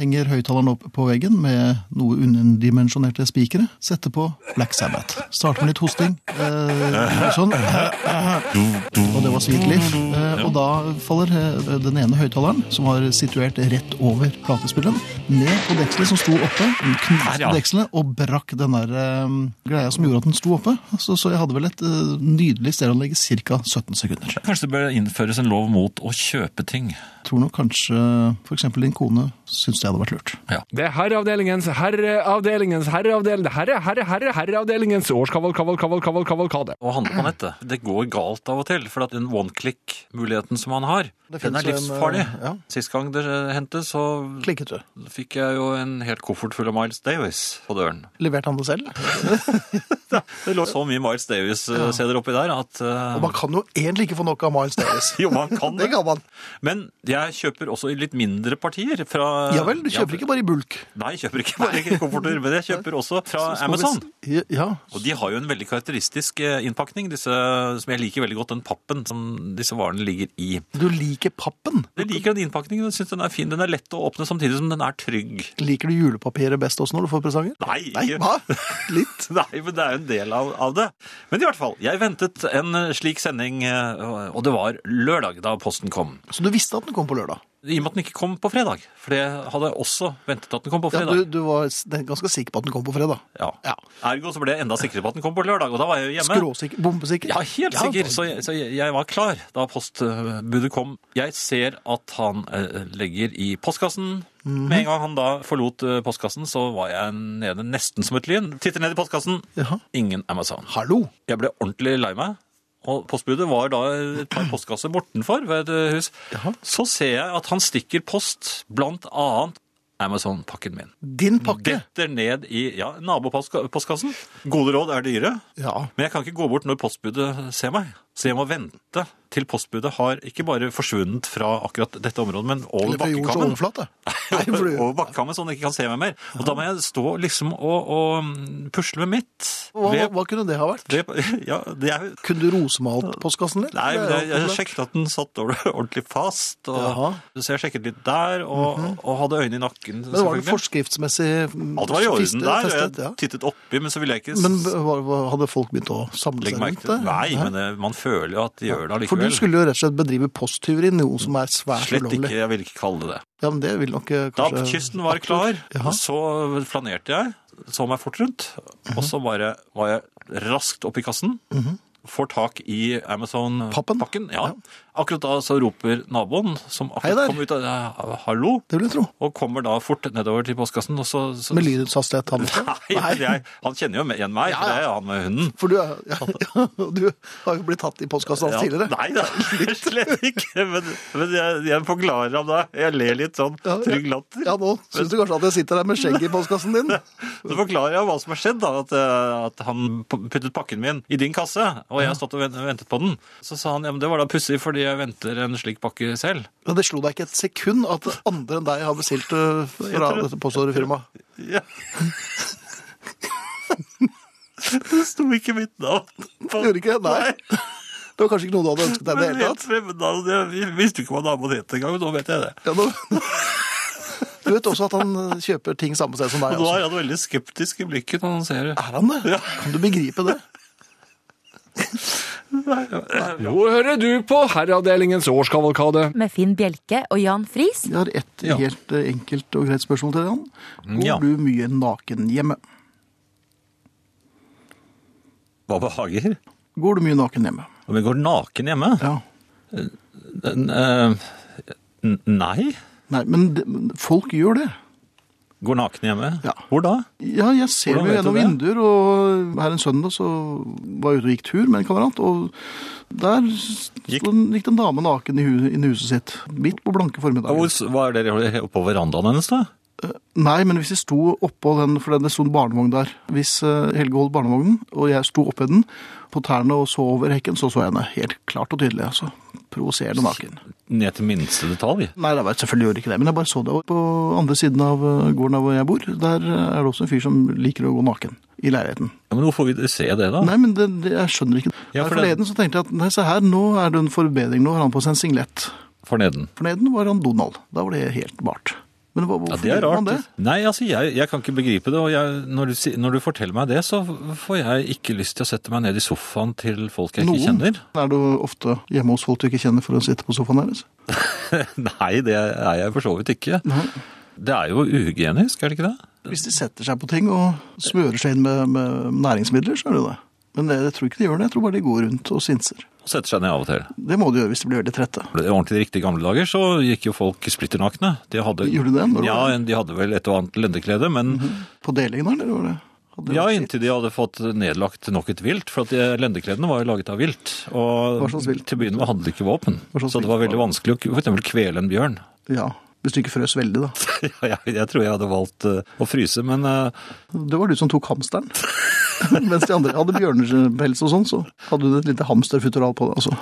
Speaker 3: Henger høyttaleren opp på veggen med noe underdimensjonerte spikere. Setter på Black Sabbath. Starter med litt hosting. Eh, sånn. Og det var Sweet Leaf. Eh, og da faller eh, den ene høyttaleren, som var situert rett over platespilleren, ned på dekselet som sto oppe. Den Knuste
Speaker 12: Der, ja.
Speaker 3: dekselet og brakk den der eh, greia som gjorde at den sto oppe. Så, så jeg hadde vel et eh, nydelig stereoanlegg i ca. 17 sekunder.
Speaker 12: Kanskje det bør innføres en lov mot å kjøpe ting.
Speaker 3: tror nok kanskje f.eks. din kone syns det hadde vært lurt.
Speaker 2: Det er herreavdelingens, herreavdelingens, herreavdeling, herre, herre, herre, herreavdelingens årskavalkavalkavalkavalkavalkade.
Speaker 5: Å handle på nettet. Det går galt av og til, for at den one-click-muligheten som man har,
Speaker 3: Det
Speaker 5: den
Speaker 3: finnes
Speaker 5: er
Speaker 3: jo en, eh,
Speaker 5: livsfarlig.
Speaker 3: ja.
Speaker 5: Sist gang det hendte, så
Speaker 3: Klikket du?
Speaker 5: fikk jeg jo en helt koffert full av Miles Davis på døren.
Speaker 3: Leverte han det selv?
Speaker 5: Det lå så mye Miles Davis-steder oppi der at eh,
Speaker 3: Og man kan jo egentlig ikke få nok av Miles Davis.
Speaker 5: Jo, man kan
Speaker 3: det
Speaker 5: det.
Speaker 3: kan man.
Speaker 5: Men jeg kjøper også i litt mindre partier fra
Speaker 3: Ja vel, du kjøper ikke bare i bulk.
Speaker 5: Nei, jeg kjøper ikke bare kofferter, men jeg kjøper også
Speaker 3: Så-
Speaker 5: fra
Speaker 3: så
Speaker 5: Amazon.
Speaker 3: hvis- Ja.
Speaker 5: Og de har jo en veldig karakteristisk eh, innpakning, disse, som jeg liker veldig godt, den pappen som disse varene ligger i.
Speaker 3: Du liker pappen.
Speaker 5: Jeg liker den innpakningen, jeg synes den er fin. Den er lett å åpne samtidig som den er trygg.
Speaker 3: Liker du julepapiret best også når du får presanger?
Speaker 5: Nei,
Speaker 3: Nei,
Speaker 5: ikke-
Speaker 3: hva? Litt.
Speaker 5: Nei, men det er jo en del av, av det. Men i hvert fall, jeg ventet en slik sending, eh, og det var lørdag da posten kom.
Speaker 3: Så du visste at den kom på lørdag?
Speaker 5: I og med at den ikke kom på fredag, for det hadde jeg også ventet at den kom på
Speaker 3: Ja, du,
Speaker 5: fredag.
Speaker 3: du var s- ganske sikker på at den kom på fredag?
Speaker 5: Ja.
Speaker 3: Ja.
Speaker 5: Ergo så ble jeg enda sikrere på at den kom på lørdag, og da var jeg jo hjemme.
Speaker 3: Skråsikker? Bombesikker?
Speaker 5: Ja, helt
Speaker 3: Ja,
Speaker 5: sikker.
Speaker 3: da-
Speaker 5: Så, jeg, så jeg, jeg var klar da postbudet kom. Jeg ser at han eh, legger i postkassen.
Speaker 3: Mhm.
Speaker 5: Med en gang han da forlot eh, postkassen, så var jeg nede nesten som et lyn. Titter ned i postkassen.
Speaker 3: Jaha.
Speaker 5: Ingen Amazon.
Speaker 3: Hallo?
Speaker 5: Jeg ble ordentlig lei meg. Og postbudet var da et par postkasser bortenfor ved et eh, hus.
Speaker 3: Jaha.
Speaker 5: Så ser jeg at han stikker post, blant annet Amazon-pakken min.
Speaker 3: Din pakke?
Speaker 5: Detter ned i ja, nabopostkassen. Gode råd er dyre.
Speaker 3: Ja.
Speaker 5: Men jeg kan ikke gå bort når postbudet ser meg, så jeg må vente til postbudet har ikke bare forsvunnet fra akkurat dette området, men over
Speaker 3: Eller fra jords
Speaker 5: bakkekammen.
Speaker 3: overflate. Nei, for
Speaker 5: Over
Speaker 3: du-
Speaker 5: over bakkekammen, sånn at jeg ikke kan se meg mer. Og da må jeg stå liksom og, og mm, pusle med mitt.
Speaker 3: Hva, hva,
Speaker 5: Ved-
Speaker 3: hva kunne det ha vært?
Speaker 5: ved- Ja, det er jo
Speaker 3: Kunne du rosemalt postkassen litt?
Speaker 5: Nei, men
Speaker 3: Det er
Speaker 5: jeg, jeg
Speaker 3: populært.
Speaker 5: sjekket at den satt over- ordentlig fast. Og,
Speaker 3: Jaha. Mhm.
Speaker 5: Så jeg sjekket litt der, og, og hadde øynene i nakken.
Speaker 3: Men var det
Speaker 5: selvfølgelig.
Speaker 3: forskriftsmessig mm,
Speaker 5: Alt var i orden
Speaker 3: fistet,
Speaker 5: der, og
Speaker 3: testet,
Speaker 5: jeg
Speaker 3: ja.
Speaker 5: tittet oppi, men så ville jeg ikke
Speaker 3: Men hva, hva, hadde folk begynt å samle
Speaker 5: legge
Speaker 3: seg
Speaker 5: merke
Speaker 3: rundt
Speaker 5: til
Speaker 3: det?
Speaker 5: det. Nei, men eh, man føler jo at de gjør det
Speaker 3: For du
Speaker 5: allikevel.
Speaker 3: skulle jo rett og slett bedrive posttyveri, noe som er svært
Speaker 5: Slett ikke,
Speaker 3: ulovlig.
Speaker 5: jeg ville ikke kalle det det.
Speaker 3: Ja, men det vil nok eh,
Speaker 5: Da
Speaker 3: kanskje...
Speaker 5: kysten var klar,
Speaker 3: Jaha.
Speaker 5: så flanerte jeg, så meg fort rundt,
Speaker 3: Mhm.
Speaker 5: og så bare var jeg raskt opp i kassen, får tak i
Speaker 3: Pappen?
Speaker 5: Amazon-pakken. Ja. Akkurat da så roper naboen, som
Speaker 3: Hei der.
Speaker 5: akkurat kom ut av eh, Hallo!
Speaker 3: Det vil jeg tro.
Speaker 5: Og kommer da fort nedover til postkassen, og så, så
Speaker 3: Med lydhastighet, han.
Speaker 5: Nei, men jeg, han kjenner jo igjen meg, for det er han med hunden.
Speaker 3: For du, er- ja, ja, du har jo blitt tatt i postkassen hans Sånn tidligere.
Speaker 5: Nei, da, slett ikke. Men, men jeg, jeg forklarer ham da. Jeg ler litt sånn
Speaker 3: Ja, ja.
Speaker 5: trygg latter.
Speaker 3: Ja, nå syns du kanskje at jeg sitter der med skjegg i postkassen din.
Speaker 5: Så forklarer jeg hva som har skjedd, da. At, eh, at han p- puttet pakken min i din kasse, og jeg har stått og ven- ventet på den. Så sa han ja, men det var da pussig, fordi jeg venter en slik pakke selv.
Speaker 3: Men det slo deg ikke et sekund at andre enn deg har bestilt eh, fra dette påståtte firmaet.
Speaker 5: Ja. Det sto ikke mitt navn på
Speaker 3: Gjorde ikke det? Nei. Det var kanskje ikke noe du hadde ønsket deg i det
Speaker 5: Men
Speaker 3: hele
Speaker 5: helt
Speaker 3: tatt.
Speaker 5: fremmednavn. Jeg visste ikke hva naboen het engang, men nå vet jeg det.
Speaker 3: Ja, nå... Du vet også at han eh, kjøper ting samme sted som deg.
Speaker 5: Og nå
Speaker 3: Også.
Speaker 5: er han veldig skeptisk i blikket når altså. han ser det.
Speaker 3: Er han det? Kan du begripe det?
Speaker 2: Nå hører du på Herreavdelingens årskavalkade.
Speaker 10: med Finn Bjelke og Jan Friis.
Speaker 3: Jeg har ett
Speaker 5: Ja.
Speaker 3: helt eh, enkelt og greit spørsmål til deg, Jan. Går
Speaker 5: Ja.
Speaker 3: du mye naken hjemme?
Speaker 5: Hva behager?
Speaker 3: Går du mye naken hjemme?
Speaker 5: Om jeg går naken hjemme?
Speaker 3: Ja.
Speaker 5: N- eh, n- nei.
Speaker 3: Nei, men det- men folk gjør det.
Speaker 5: Går naken hjemme?
Speaker 3: Ja.
Speaker 5: Hvor da?
Speaker 3: Ja, jeg ser jo
Speaker 5: Hvordan vet du
Speaker 3: gjennom vinduer, og her en søndag så var jeg ute og gikk tur med en kamerat, og der gikk,
Speaker 5: Gikk-
Speaker 3: gikk det en dame naken i, hu- inn i huset sitt, midt på blanke
Speaker 5: Og Hvor,
Speaker 3: formiddagen.
Speaker 5: s- hva er dere på verandaen hennes da?
Speaker 3: Nei, men hvis jeg sto oppå den, for det sto en barnevogn der, hvis eh, Helge holdt barnevognen, og jeg sto oppe i den, på tærne og så over hekken, så så jeg henne helt klart og tydelig, altså. Provoserende naken.
Speaker 5: Ned til minste detalj.
Speaker 3: Nei, det var, selvfølgelig gjorde jeg ikke det, men jeg bare så det. Og på andre siden av eh, gården av hvor jeg bor, der eh, er det også en fyr som liker å gå naken i leiligheten.
Speaker 5: Ja, men hvorfor vil dere se det da?
Speaker 3: Nei, men det, det, jeg skjønner ikke.
Speaker 5: Ah. Ja,
Speaker 3: Her
Speaker 5: for det-
Speaker 3: forleden så tenkte jeg at nei, se her, nå er det en forbedring. Nå har han på seg en singlet.
Speaker 5: For neden.
Speaker 3: Forleden var han Donald. Da var det helt bart. Men hva,
Speaker 5: Ja,
Speaker 3: hvorfor
Speaker 5: det er
Speaker 3: gjør
Speaker 5: rart.
Speaker 3: man det?
Speaker 5: Nei, altså, jeg, jeg kan ikke begripe det, og jeg, når, du, si- når du forteller meg det, så får jeg ikke lyst til å sette meg ned i sofaen til folk jeg ikke kjenner.
Speaker 3: Er du ofte hjemme hos folk du ikke kjenner for å sitte på sofaen deres?
Speaker 5: Nei, det er jeg for så vidt ikke.
Speaker 3: Nei.
Speaker 5: Det er jo uhygienisk, er det ikke det?
Speaker 3: Hvis de setter seg på ting og smører seg inn med, med næringsmidler, så er det jo det. Men jeg, jeg tror ikke de gjør det. Jeg tror bare de går rundt og sinser.
Speaker 5: Og setter seg ned av og til.
Speaker 3: Det må de gjøre hvis de blir veldig trette.
Speaker 5: I ordentlig riktig gamle dager så gikk jo folk splitter nakne. De hadde,
Speaker 3: Gjorde de det? Når
Speaker 5: Ja,
Speaker 3: var det?
Speaker 5: en- de hadde vel et og annet lendeklede, men
Speaker 3: På delingen, eller? var det- hadde det
Speaker 5: ja,
Speaker 3: vært-
Speaker 5: inntil de hadde fått nedlagt nok et vilt, for at de, lendekledene var jo laget av vilt. Og
Speaker 3: Hva slags vilt?
Speaker 5: til å begynne med hadde de ikke våpen,
Speaker 3: Hva slags
Speaker 5: så det var
Speaker 3: vilt
Speaker 5: veldig
Speaker 3: var
Speaker 5: vanskelig å k- for eksempel kvele en bjørn.
Speaker 3: ja. Hvis du ikke frøs veldig, da.
Speaker 5: Ja, jeg, jeg tror jeg hadde valgt eh, å fryse, men eh,
Speaker 3: Det var du som tok hamsteren. Mens de andre hadde bjørnepels og sånn, så hadde du et lite hamsterfutteral på det. Altså.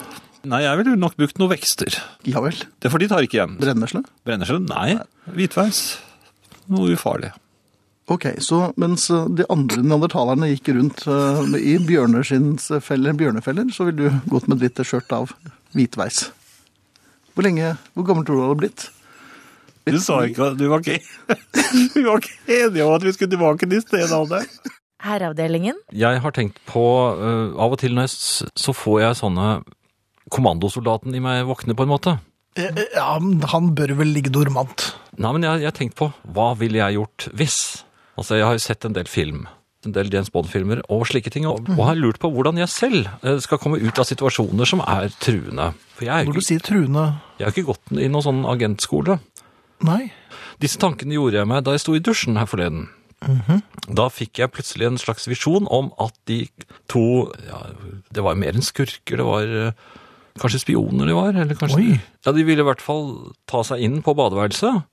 Speaker 5: nei, jeg ville nok brukt noen vekster.
Speaker 3: Ja vel.
Speaker 5: Det er for de tar ikke igjen.
Speaker 3: Brennesle?
Speaker 5: Brennesle? Nei. Hvitveis? Noe ufarlig.
Speaker 3: Ok, så mens eh, de andre neandertalerne gikk rundt eh, i bjørneskinnsfeller, bjørnefeller, så ville du gått med ditt skjørt av hvitveis. Hvor lenge, hvor gammel tror du du hadde blitt?
Speaker 5: Du sa ikke at du var ikke, du var ikke enig om at vi skulle tilbake til stenalderen.
Speaker 10: Herreavdelingen.
Speaker 13: Jeg har tenkt på eh, Av og til når jeg, s- så får jeg sånne Kommandosoldaten i meg våkne, på en måte.
Speaker 3: Eh, Ja, han bør vel ligge dormant.
Speaker 13: Nei, men jeg jeg har tenkt på hva ville jeg gjort hvis? Altså, jeg har jo sett en del film, en del James Bond-filmer og slike ting, og, og har lurt på hvordan jeg selv eh, skal komme ut av situasjoner som er truende. For jeg er jo
Speaker 3: Når du
Speaker 13: ikke,
Speaker 3: sier truende
Speaker 13: jeg har ikke gått i noen sånn agentskole.
Speaker 3: Nei.
Speaker 13: Disse tankene gjorde jeg meg da jeg sto i dusjen her forleden. Da fikk jeg plutselig en slags visjon om at de to ja, Det var mer enn skurker, det var eh, kanskje spioner de var. Eller kanskje,
Speaker 3: Oi.
Speaker 13: Ja, De ville i hvert fall ta seg inn på badeværelset.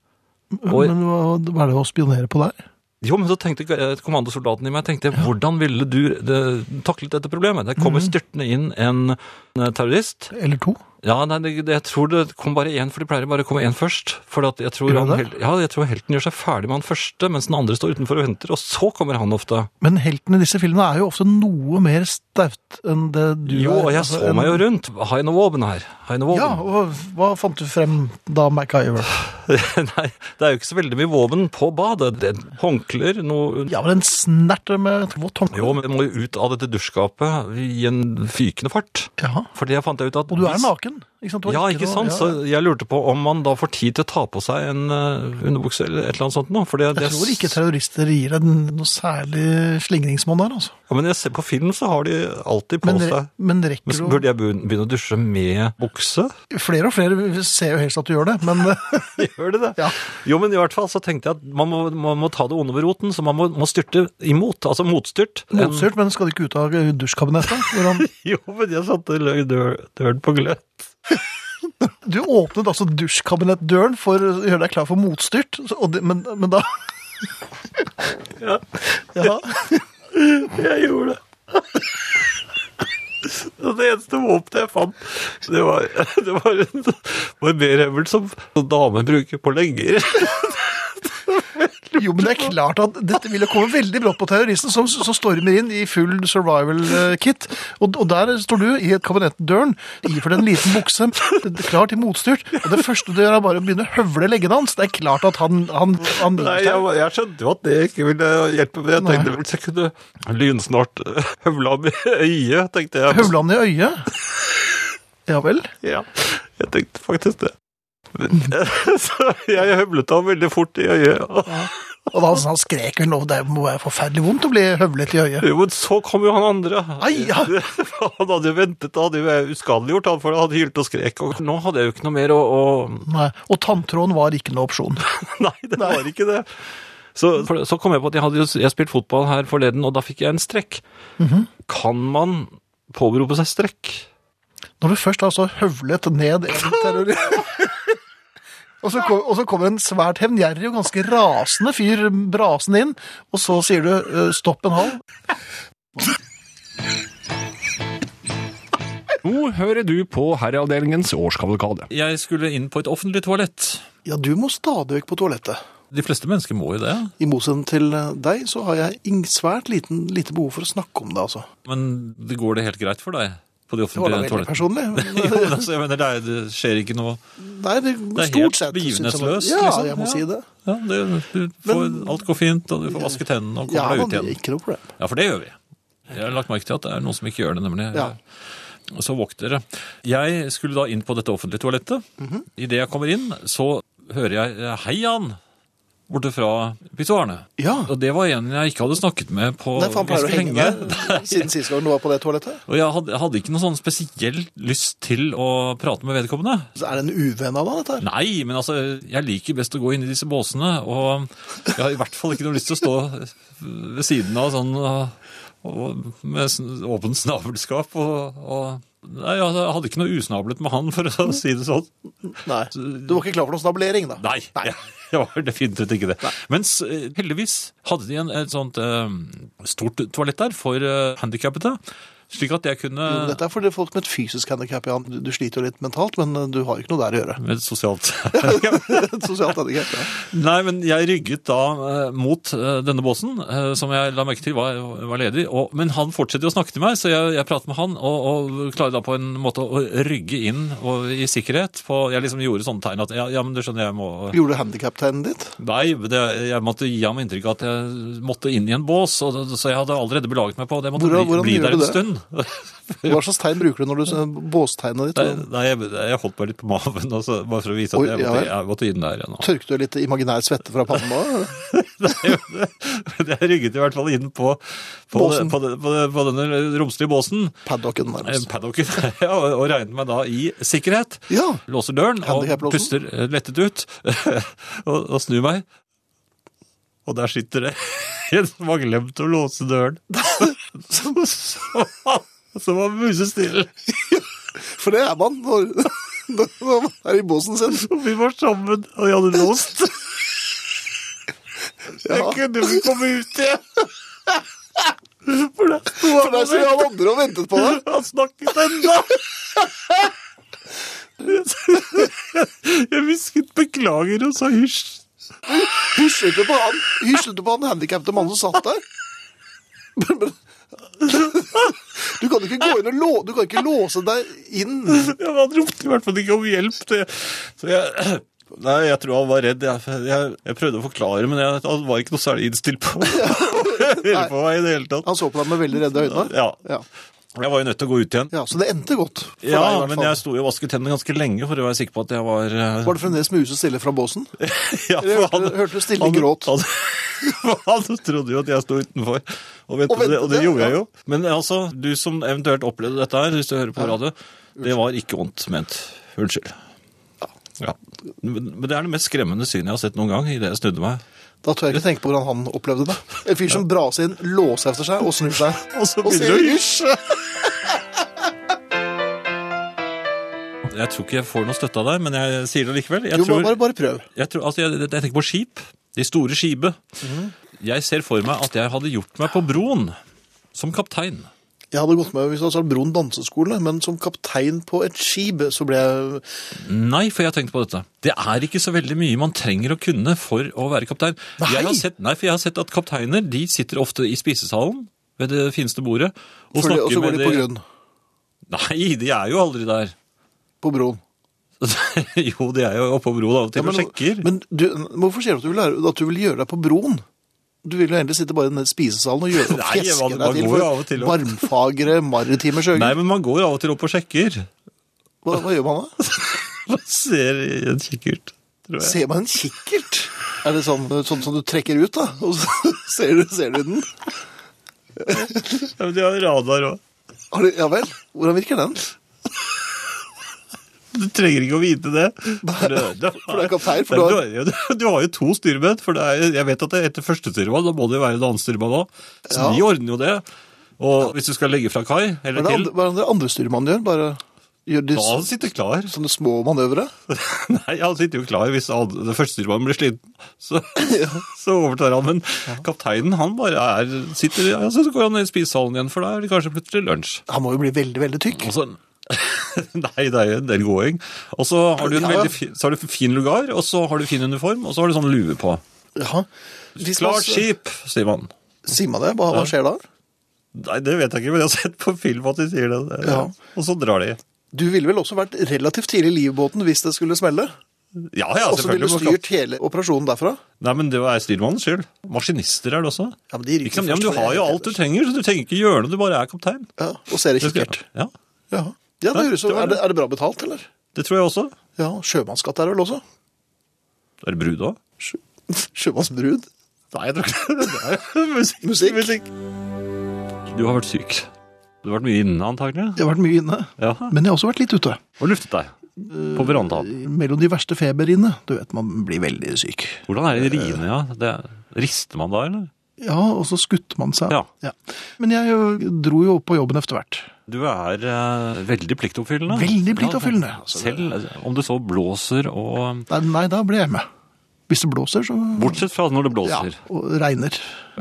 Speaker 13: Og-
Speaker 3: Men hva, hva er det å spionere på der?
Speaker 5: Jo, men så tenkte eh, kommandosoldaten i meg, tenkte jeg, hvordan ville du eh, taklet dette problemet? Det kommer styrtende inn en eh, terrorist.
Speaker 3: Eller to.
Speaker 5: Ja, nei, det, det- jeg tror det kom bare én, for de pleier bare å komme én først. For at jeg, tror
Speaker 3: Gjør
Speaker 5: han,
Speaker 3: det?
Speaker 5: hel- ja, jeg tror helten gjør seg ferdig med han første, mens den andre står utenfor og venter, og så kommer han ofte.
Speaker 3: Men heltene i disse filmene er jo ofte noe mer staut enn det du
Speaker 5: Jo,
Speaker 3: er.
Speaker 5: og jeg
Speaker 3: Altså,
Speaker 5: så
Speaker 3: en-
Speaker 5: meg jo rundt. Har jeg noe våpen her? Har jeg noe
Speaker 3: Ja,
Speaker 5: våpen?
Speaker 3: og hva fant du frem da, MacGyver?
Speaker 5: Nei, det er jo ikke så veldig mye våpen på badet. Det er håndklær, noe
Speaker 3: Ja, men en snert med et vått håndkle.
Speaker 5: Jo, men jeg må jo ut av dette dusjskapet i en fykende fart.
Speaker 3: Ja.
Speaker 5: For det fant jeg ut at
Speaker 3: Og du er
Speaker 5: hvis-
Speaker 3: naken, ikke sant? Du har
Speaker 5: Ja,
Speaker 3: noe-
Speaker 5: ikke sant? Så jeg lurte på om man da får tid til å ta på seg en eh, underbukse eller et eller annet sånt nå. For det,
Speaker 3: Jeg tror ikke terrorister gir deg noe særlig slingringsmonn der, altså.
Speaker 5: Ja, men jeg ser på film så har de alltid på
Speaker 3: Men, re
Speaker 5: seg
Speaker 3: men rekker
Speaker 5: men så
Speaker 3: du
Speaker 5: burde jeg begyn- begynne å dusje med bukse?
Speaker 3: Flere og flere ser jo helst at du gjør det, men eh,
Speaker 5: Gjør de det?
Speaker 3: Ja.
Speaker 5: Jo, men i hvert fall så tenkte jeg at man må, man må ta det onde ved roten, så man må, må styrte imot. Altså motstyrt.
Speaker 3: motstyrt. Men skal du ikke ut av dusjkabinettet? Hvor han-
Speaker 5: Jo, men jeg satte løy dør- døren på gløtt.
Speaker 3: Du åpnet altså dusjkabinettdøren for å gjøre deg klar for motstyrt, så- og det, men, men da Ja.
Speaker 5: Jeg gjorde det. Og Det eneste våpenet jeg fant, det var, det var en barberhøvel som damer bruker på legger.
Speaker 3: Jo, men det er klart at dette ville komme veldig brått på terroristen, som, som stormer inn i full survival-kit. Og, og der står du i kabinettdøren, iført en liten bukse, klar til motstyrt. Og det første du gjør, er bare å begynne å høvle leggene hans. Det er klart at han, han, han
Speaker 5: Nei, jeg, var- jeg skjønte jo at det ikke ville hjelpe, men jeg tenkte vel så jeg kunne lynsnart eh, høvla ham i øyet, tenkte jeg.
Speaker 3: høvler han i øyet. Ja vel.
Speaker 5: Ja, jeg tenkte faktisk det. Men, eh, så jeg høvlet ham veldig fort i øyet. og-
Speaker 3: Og da altså, han skrek vel nå, det må være forferdelig vondt å bli høvlet i øyet.
Speaker 5: Jo, men så kom jo han andre.
Speaker 3: Ai, ja.
Speaker 5: Han hadde jo ventet, da hadde jo jeg uskadeliggjort han, for han hadde hylt og skrek. Og nå hadde jeg jo ikke noe mer å, å...
Speaker 3: Nei, og tanntråden var ikke noe opsjon.
Speaker 5: Nei, det var ikke det. Så, for, så kom jeg på at jeg hadde jo jeg spilt fotball her forleden, og da fikk jeg en strekk. Mhm. Kan man påberope seg strekk?
Speaker 3: Når du først har så høvlet ned en terrorist Og så, kom, og så kommer en svært hevngjerrig og ganske rasende fyr brasende inn, og så sier du eh, 'stopp en halv'.
Speaker 2: Nå hører du på Herreavdelingens årskavalkade.
Speaker 5: Jeg skulle inn på et offentlig toalett.
Speaker 3: Ja, du må stadig vekk på toalettet.
Speaker 5: De fleste mennesker må jo det.
Speaker 3: I motsetning til eh, deg, så har jeg ing- svært liten, lite behov for å snakke om det, altså.
Speaker 5: Men det går det helt greit for deg på de
Speaker 3: Det var da
Speaker 5: offentlige
Speaker 3: veldig
Speaker 5: toalettene?
Speaker 3: personlig.
Speaker 5: Jo, men
Speaker 3: men- eh,
Speaker 5: altså, jeg mener, det, er, det skjer ikke noe
Speaker 3: Nei, det,
Speaker 5: helt
Speaker 3: stort sett. synes jeg var-
Speaker 5: begivenhetsløst,
Speaker 3: Ja,
Speaker 5: liksom.
Speaker 3: jeg må
Speaker 5: Ja.
Speaker 3: si det.
Speaker 5: Ja, det, du får, alt går fint, og du får vasket hendene og
Speaker 3: Ja,
Speaker 5: kommer deg ut
Speaker 3: det er
Speaker 5: igjen.
Speaker 3: ikke noe problem.
Speaker 5: Ja, for det gjør vi. Jeg har lagt merke til at det er noen som ikke gjør det, nemlig.
Speaker 3: Ja.
Speaker 5: Og Så voktere. Jeg skulle da inn på dette offentlige toalettet.
Speaker 3: Mhm.
Speaker 5: Idet jeg kommer inn, så hører jeg heian borte fra pissoarene.
Speaker 3: Ja.
Speaker 5: Og det var en jeg ikke hadde snakket med på
Speaker 3: Nei, for han pleier å
Speaker 5: ganske
Speaker 3: henge
Speaker 5: lenge.
Speaker 3: der siden sist gang du var på det toalettet.
Speaker 5: Og jeg hadde, hadde ikke noe sånn spesiell lyst til å prate med vedkommende.
Speaker 3: Så er det en uvenn av deg, dette her?
Speaker 5: Nei, men altså, jeg liker best å gå inn i disse båsene, og jeg har i hvert fall ikke noe lyst til å stå ved siden av sånn og, og, med sånn åpen snabelskap og, og Nei, jeg hadde ikke noe usnablet med han, for å si det sånn.
Speaker 3: Nei. Du var ikke klar for noen snablering, da?
Speaker 5: Nei, jeg, jeg var definitivt ikke det. Mens eh, heldigvis hadde de en, et sånt eh, stort toalett der for eh, handikappede, slik at jeg kunne
Speaker 3: Jo, Dette er for folk med et fysisk handikap, Jan. Du, du sliter jo litt mentalt, men eh, du har jo ikke noe der å gjøre.
Speaker 5: med et sosialt
Speaker 3: Et sosialt handikap, ja.
Speaker 5: Nei, men jeg rygget da eh, mot eh, denne båsen, eh, som jeg la merke til var, var ledig. Og, men han fortsetter jo å snakke til meg, så jeg, jeg prater med han og, og klarer da på en måte å rygge inn og, i sikkerhet. På, jeg liksom gjorde sånne tegn at ja, ja men du skjønner, jeg må
Speaker 3: Gjorde du handikaptegnet ditt?
Speaker 5: Nei, det, jeg måtte gi ham inntrykk av at jeg måtte inn i en bås, og, det- så jeg hadde allerede belaget meg på det. Jeg måtte
Speaker 3: Hvordan-
Speaker 5: bli,
Speaker 3: hvordan
Speaker 5: bli
Speaker 3: gjør
Speaker 5: der
Speaker 3: du
Speaker 5: en
Speaker 3: det?
Speaker 5: stund.
Speaker 3: Hva slags tegn bruker du når du båstegnet ditt?
Speaker 5: Nei,
Speaker 3: Og
Speaker 5: nei, jeg, jeg holdt meg litt på maven, og så- bare for å vise at
Speaker 3: Oi,
Speaker 5: jeg
Speaker 3: ja
Speaker 5: måtte,
Speaker 3: vel.
Speaker 5: jeg måtte inn der igjen. og-
Speaker 3: Tørket du litt imaginær svette fra pannen da?
Speaker 5: Men jeg rygget i hvert fall inn på, på,
Speaker 3: Båsen.
Speaker 5: på, på, på denne romslige båsen,
Speaker 3: Paddocken,
Speaker 5: eh,
Speaker 3: nærmest.
Speaker 5: paddocken, ja, og og regnet meg da i sikkerhet.
Speaker 3: Ja.
Speaker 5: Låser døren og
Speaker 3: Handicap-låsen.
Speaker 5: puster eh, lettet ut, og, og snur meg. Og der sitter det en som har glemt å låse døren. Som, som, som var musestille.
Speaker 3: For det er man når, når man er i båsen sin.
Speaker 5: Vi var sammen, og jeg hadde låst.
Speaker 14: Jeg kunne ikke komme ut igjen! For det sto han der som han andre og ventet på deg.
Speaker 5: Han snakket ennå! Jeg hvisket beklager og sa hysj.
Speaker 3: Hysjet du på han, hysjet du på han handikappede mannen som satt der? Men- men- Du kan ikke gå inn og lå, du kan ikke låse deg inn.
Speaker 5: Ja, men Han ropte i hvert fall ikke om hjelp. Det. Så jeg... Nei, jeg tror han var redd. Jeg, jeg, jeg prøvde å forklare, men jeg, han var ikke noe særlig innstilt på, på meg i det hele tatt.
Speaker 3: Han så på deg med veldig redde øyne.
Speaker 5: Ja,
Speaker 3: Ja.
Speaker 5: Jeg var jo nødt til å gå ut igjen.
Speaker 3: ja, så det endte godt. for deg
Speaker 5: Ja,
Speaker 3: i hvert
Speaker 5: men
Speaker 3: fall.
Speaker 5: jeg sto jo og vasket tennene ganske lenge for å være sikker på at jeg var eh,
Speaker 3: Var det fremdeles muse stille fra båsen?
Speaker 5: ja,
Speaker 3: Eller
Speaker 5: for
Speaker 3: hørte, hørte du stille
Speaker 5: han-
Speaker 3: gråt?
Speaker 5: Han, han trodde jo at jeg sto utenfor, og, vet,
Speaker 3: Og
Speaker 5: du det, og det
Speaker 3: ventet,
Speaker 5: gjorde jeg
Speaker 3: ja.
Speaker 5: jo. Men altså, du som eventuelt opplevde dette her, hvis du hører på radio, det var ikke vondt ment. Unnskyld. Ja. Men men det er det mest skremmende synet jeg har sett noen gang idet jeg snudde meg.
Speaker 3: Da tør jeg ikke tenke på hvordan han opplevde det. En fyr som braser inn, låser efter seg og snur seg.
Speaker 5: Og så
Speaker 3: Og sier
Speaker 5: begynner du å
Speaker 3: hysj!
Speaker 5: Jeg tror ikke jeg får noe støtte av deg, men jeg sier det likevel. Jeg
Speaker 3: Jo,
Speaker 5: tror,
Speaker 3: bare, bare prøv.
Speaker 5: jeg, tror, altså, jeg, jeg tenker på skip. De store skipet. Jeg ser for meg at jeg hadde gjort meg på broen som kaptein.
Speaker 3: Jeg hadde gått med hvis det hadde vært Broen danseskole, men som kaptein på et skip så ble jeg
Speaker 5: Nei, for jeg har tenkt på dette. Det er ikke så veldig mye man trenger å kunne for å være kaptein.
Speaker 3: Nei!
Speaker 5: Jeg har sett, nei, for jeg har sett at kapteiner de sitter ofte i spisesalen ved det fineste bordet og
Speaker 3: for det, Og så
Speaker 5: snakker
Speaker 3: går
Speaker 5: med
Speaker 3: de på grunn
Speaker 5: Nei, de er jo aldri der.
Speaker 3: på Broen.
Speaker 5: jo, de er jo oppe på broen av og til
Speaker 3: men
Speaker 5: og sjekker.
Speaker 3: men du, hvorfor sier du at du, vil, lære- at du vil gjøre deg på Broen? Du vil jo egentlig sitte bare i den spisesalen og gjøre og
Speaker 5: Nei,
Speaker 3: fjeske
Speaker 5: man- man
Speaker 3: deg til
Speaker 5: går jo av og
Speaker 3: for
Speaker 5: til opp.
Speaker 3: varmfagre maritime
Speaker 5: Nei,
Speaker 3: sjøer.
Speaker 5: men man går av og til opp og sjekker.
Speaker 3: Hva, hva gjør man da?
Speaker 5: Man ser i en kikkert, tror jeg.
Speaker 3: Ser man en kikkert? Er det sånn, sånn som du trekker ut, da? Og så ser du, ser du den?
Speaker 5: Ja, men de har radar òg.
Speaker 3: Har du, ja vel? Hvordan virker den?
Speaker 5: Du trenger ikke å vite det. For det,
Speaker 3: for det er kaptein, for
Speaker 5: Nei,
Speaker 3: du
Speaker 5: du, har... jo- du har jo to styrmenn. for det er, Jeg vet at det er etter første styrmann, da må det jo være en annen styrmann òg. Så
Speaker 3: Ja.
Speaker 5: de ordner jo det. Og hvis du skal legge fra kai,
Speaker 3: Hva
Speaker 5: eller
Speaker 3: er det
Speaker 5: til,
Speaker 3: andre, hva er det andre styrmannen gjør? Bare gjør de
Speaker 5: da han sitter klar.
Speaker 3: sånne små manøvre?
Speaker 5: Nei, han sitter jo klar hvis han, den første styrmannen blir sliten. Så, så overtar han. Men kapteinen, han bare er sitter, ja, Så går han ned i spisesalen igjen, for da er det kanskje plutselig lunsj.
Speaker 3: Han må jo bli veldig, veldig tykk.
Speaker 5: Og så... Nei, det er jo en del gåing. Og så har du en
Speaker 3: Ja, ja.
Speaker 5: veldig fin, så har du en fin lugar, og så har du fin uniform, og så har du sånn lue på.
Speaker 3: Ja. Hvis man-
Speaker 5: Klart skip, sier man.
Speaker 3: Sier man det? Hva, hva skjer da?
Speaker 5: Nei, det vet jeg ikke, men jeg har sett på film at de sier det.
Speaker 3: Ja.
Speaker 5: Og så drar de.
Speaker 3: Du ville vel også vært relativt tidlig i livbåten hvis det skulle smelle?
Speaker 5: Ja, ja,
Speaker 3: Og så ville
Speaker 5: selvfølgelig.
Speaker 3: du styrt hele operasjonen derfra?
Speaker 5: Nei, men det er styrmannens skyld. Maskinister er det også.
Speaker 3: Ja, men de ryker
Speaker 5: Ikke sant? Ja, men
Speaker 3: først, for
Speaker 5: du har
Speaker 3: jeg
Speaker 5: jo
Speaker 3: vet
Speaker 5: alt du trenger, så du trenger ikke gjøre noe, du bare er kaptein.
Speaker 3: Ja, Og ser i
Speaker 5: Det skal-
Speaker 3: kikkert.
Speaker 5: Ja,
Speaker 3: Ja, ja det
Speaker 5: Ja,
Speaker 3: høres jo
Speaker 5: det var
Speaker 3: er, det,
Speaker 5: det.
Speaker 3: er det bra betalt, eller?
Speaker 5: det tror jeg også.
Speaker 3: Ja, sjømannsskatt er det vel også?
Speaker 5: Er det brud også?
Speaker 3: Sjø, sjømannsbrud?
Speaker 5: Nei, jeg tror ikke det. det. er jo musikk.
Speaker 3: Musikk.
Speaker 5: Du har vært syk. Du har vært mye inne, antagelig.
Speaker 3: Jeg har vært mye inne,
Speaker 5: Ja,
Speaker 3: men jeg har også vært litt ute.
Speaker 5: og luftet deg. På verandaen.
Speaker 3: Mellom de verste feberinne. Du vet, man blir veldig syk.
Speaker 5: Hvordan er det i riene, ja? Det er, rister man da, eller?
Speaker 3: Ja, og så skutte man seg.
Speaker 5: Ja.
Speaker 3: Men jeg jo, dro jo opp på jobben etter hvert.
Speaker 5: Du er eh, veldig pliktoppfyllende.
Speaker 3: Veldig pliktoppfyllende.
Speaker 5: Ja, selv om det så blåser og
Speaker 3: Nei, nei, da ble jeg med. Hvis det blåser, så
Speaker 5: Bortsett fra når det
Speaker 3: ja,
Speaker 5: blåser.
Speaker 3: og regner.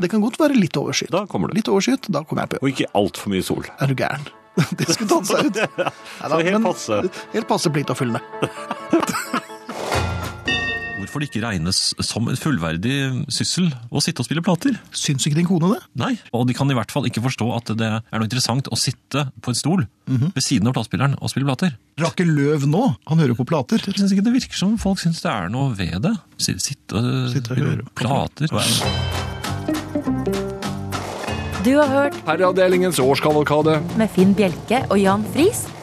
Speaker 3: Det kan godt være litt overskyet.
Speaker 5: Da kommer du.
Speaker 3: Litt overskyet, da kommer jeg på jobb.
Speaker 5: Og ikke altfor mye sol.
Speaker 3: Er du gæren? Det skulle tatt seg ut. Nei da,
Speaker 5: helt
Speaker 3: men-
Speaker 5: passe.
Speaker 3: Helt passe pliktoppfyllende.
Speaker 15: Hvorfor det ikke regnes som en fullverdig syssel å sitte og spille plater?
Speaker 3: Syns ikke din kone det?
Speaker 15: Nei, og de kan i hvert fall ikke forstå at det er noe interessant å sitte på en stol
Speaker 3: Mhm.
Speaker 15: ved siden av platespilleren og spille plater.
Speaker 3: Rakke løv nå? Han hører på plater.
Speaker 15: Jeg synes ikke det virker som folk synes det er noe ved det. Si- Sitte og,
Speaker 3: Sitte og
Speaker 15: spille
Speaker 3: høre på.
Speaker 15: plater.
Speaker 10: Du har hørt
Speaker 2: Herreavdelingens årskavalkade.
Speaker 10: med Finn Bjelke og Jan Friis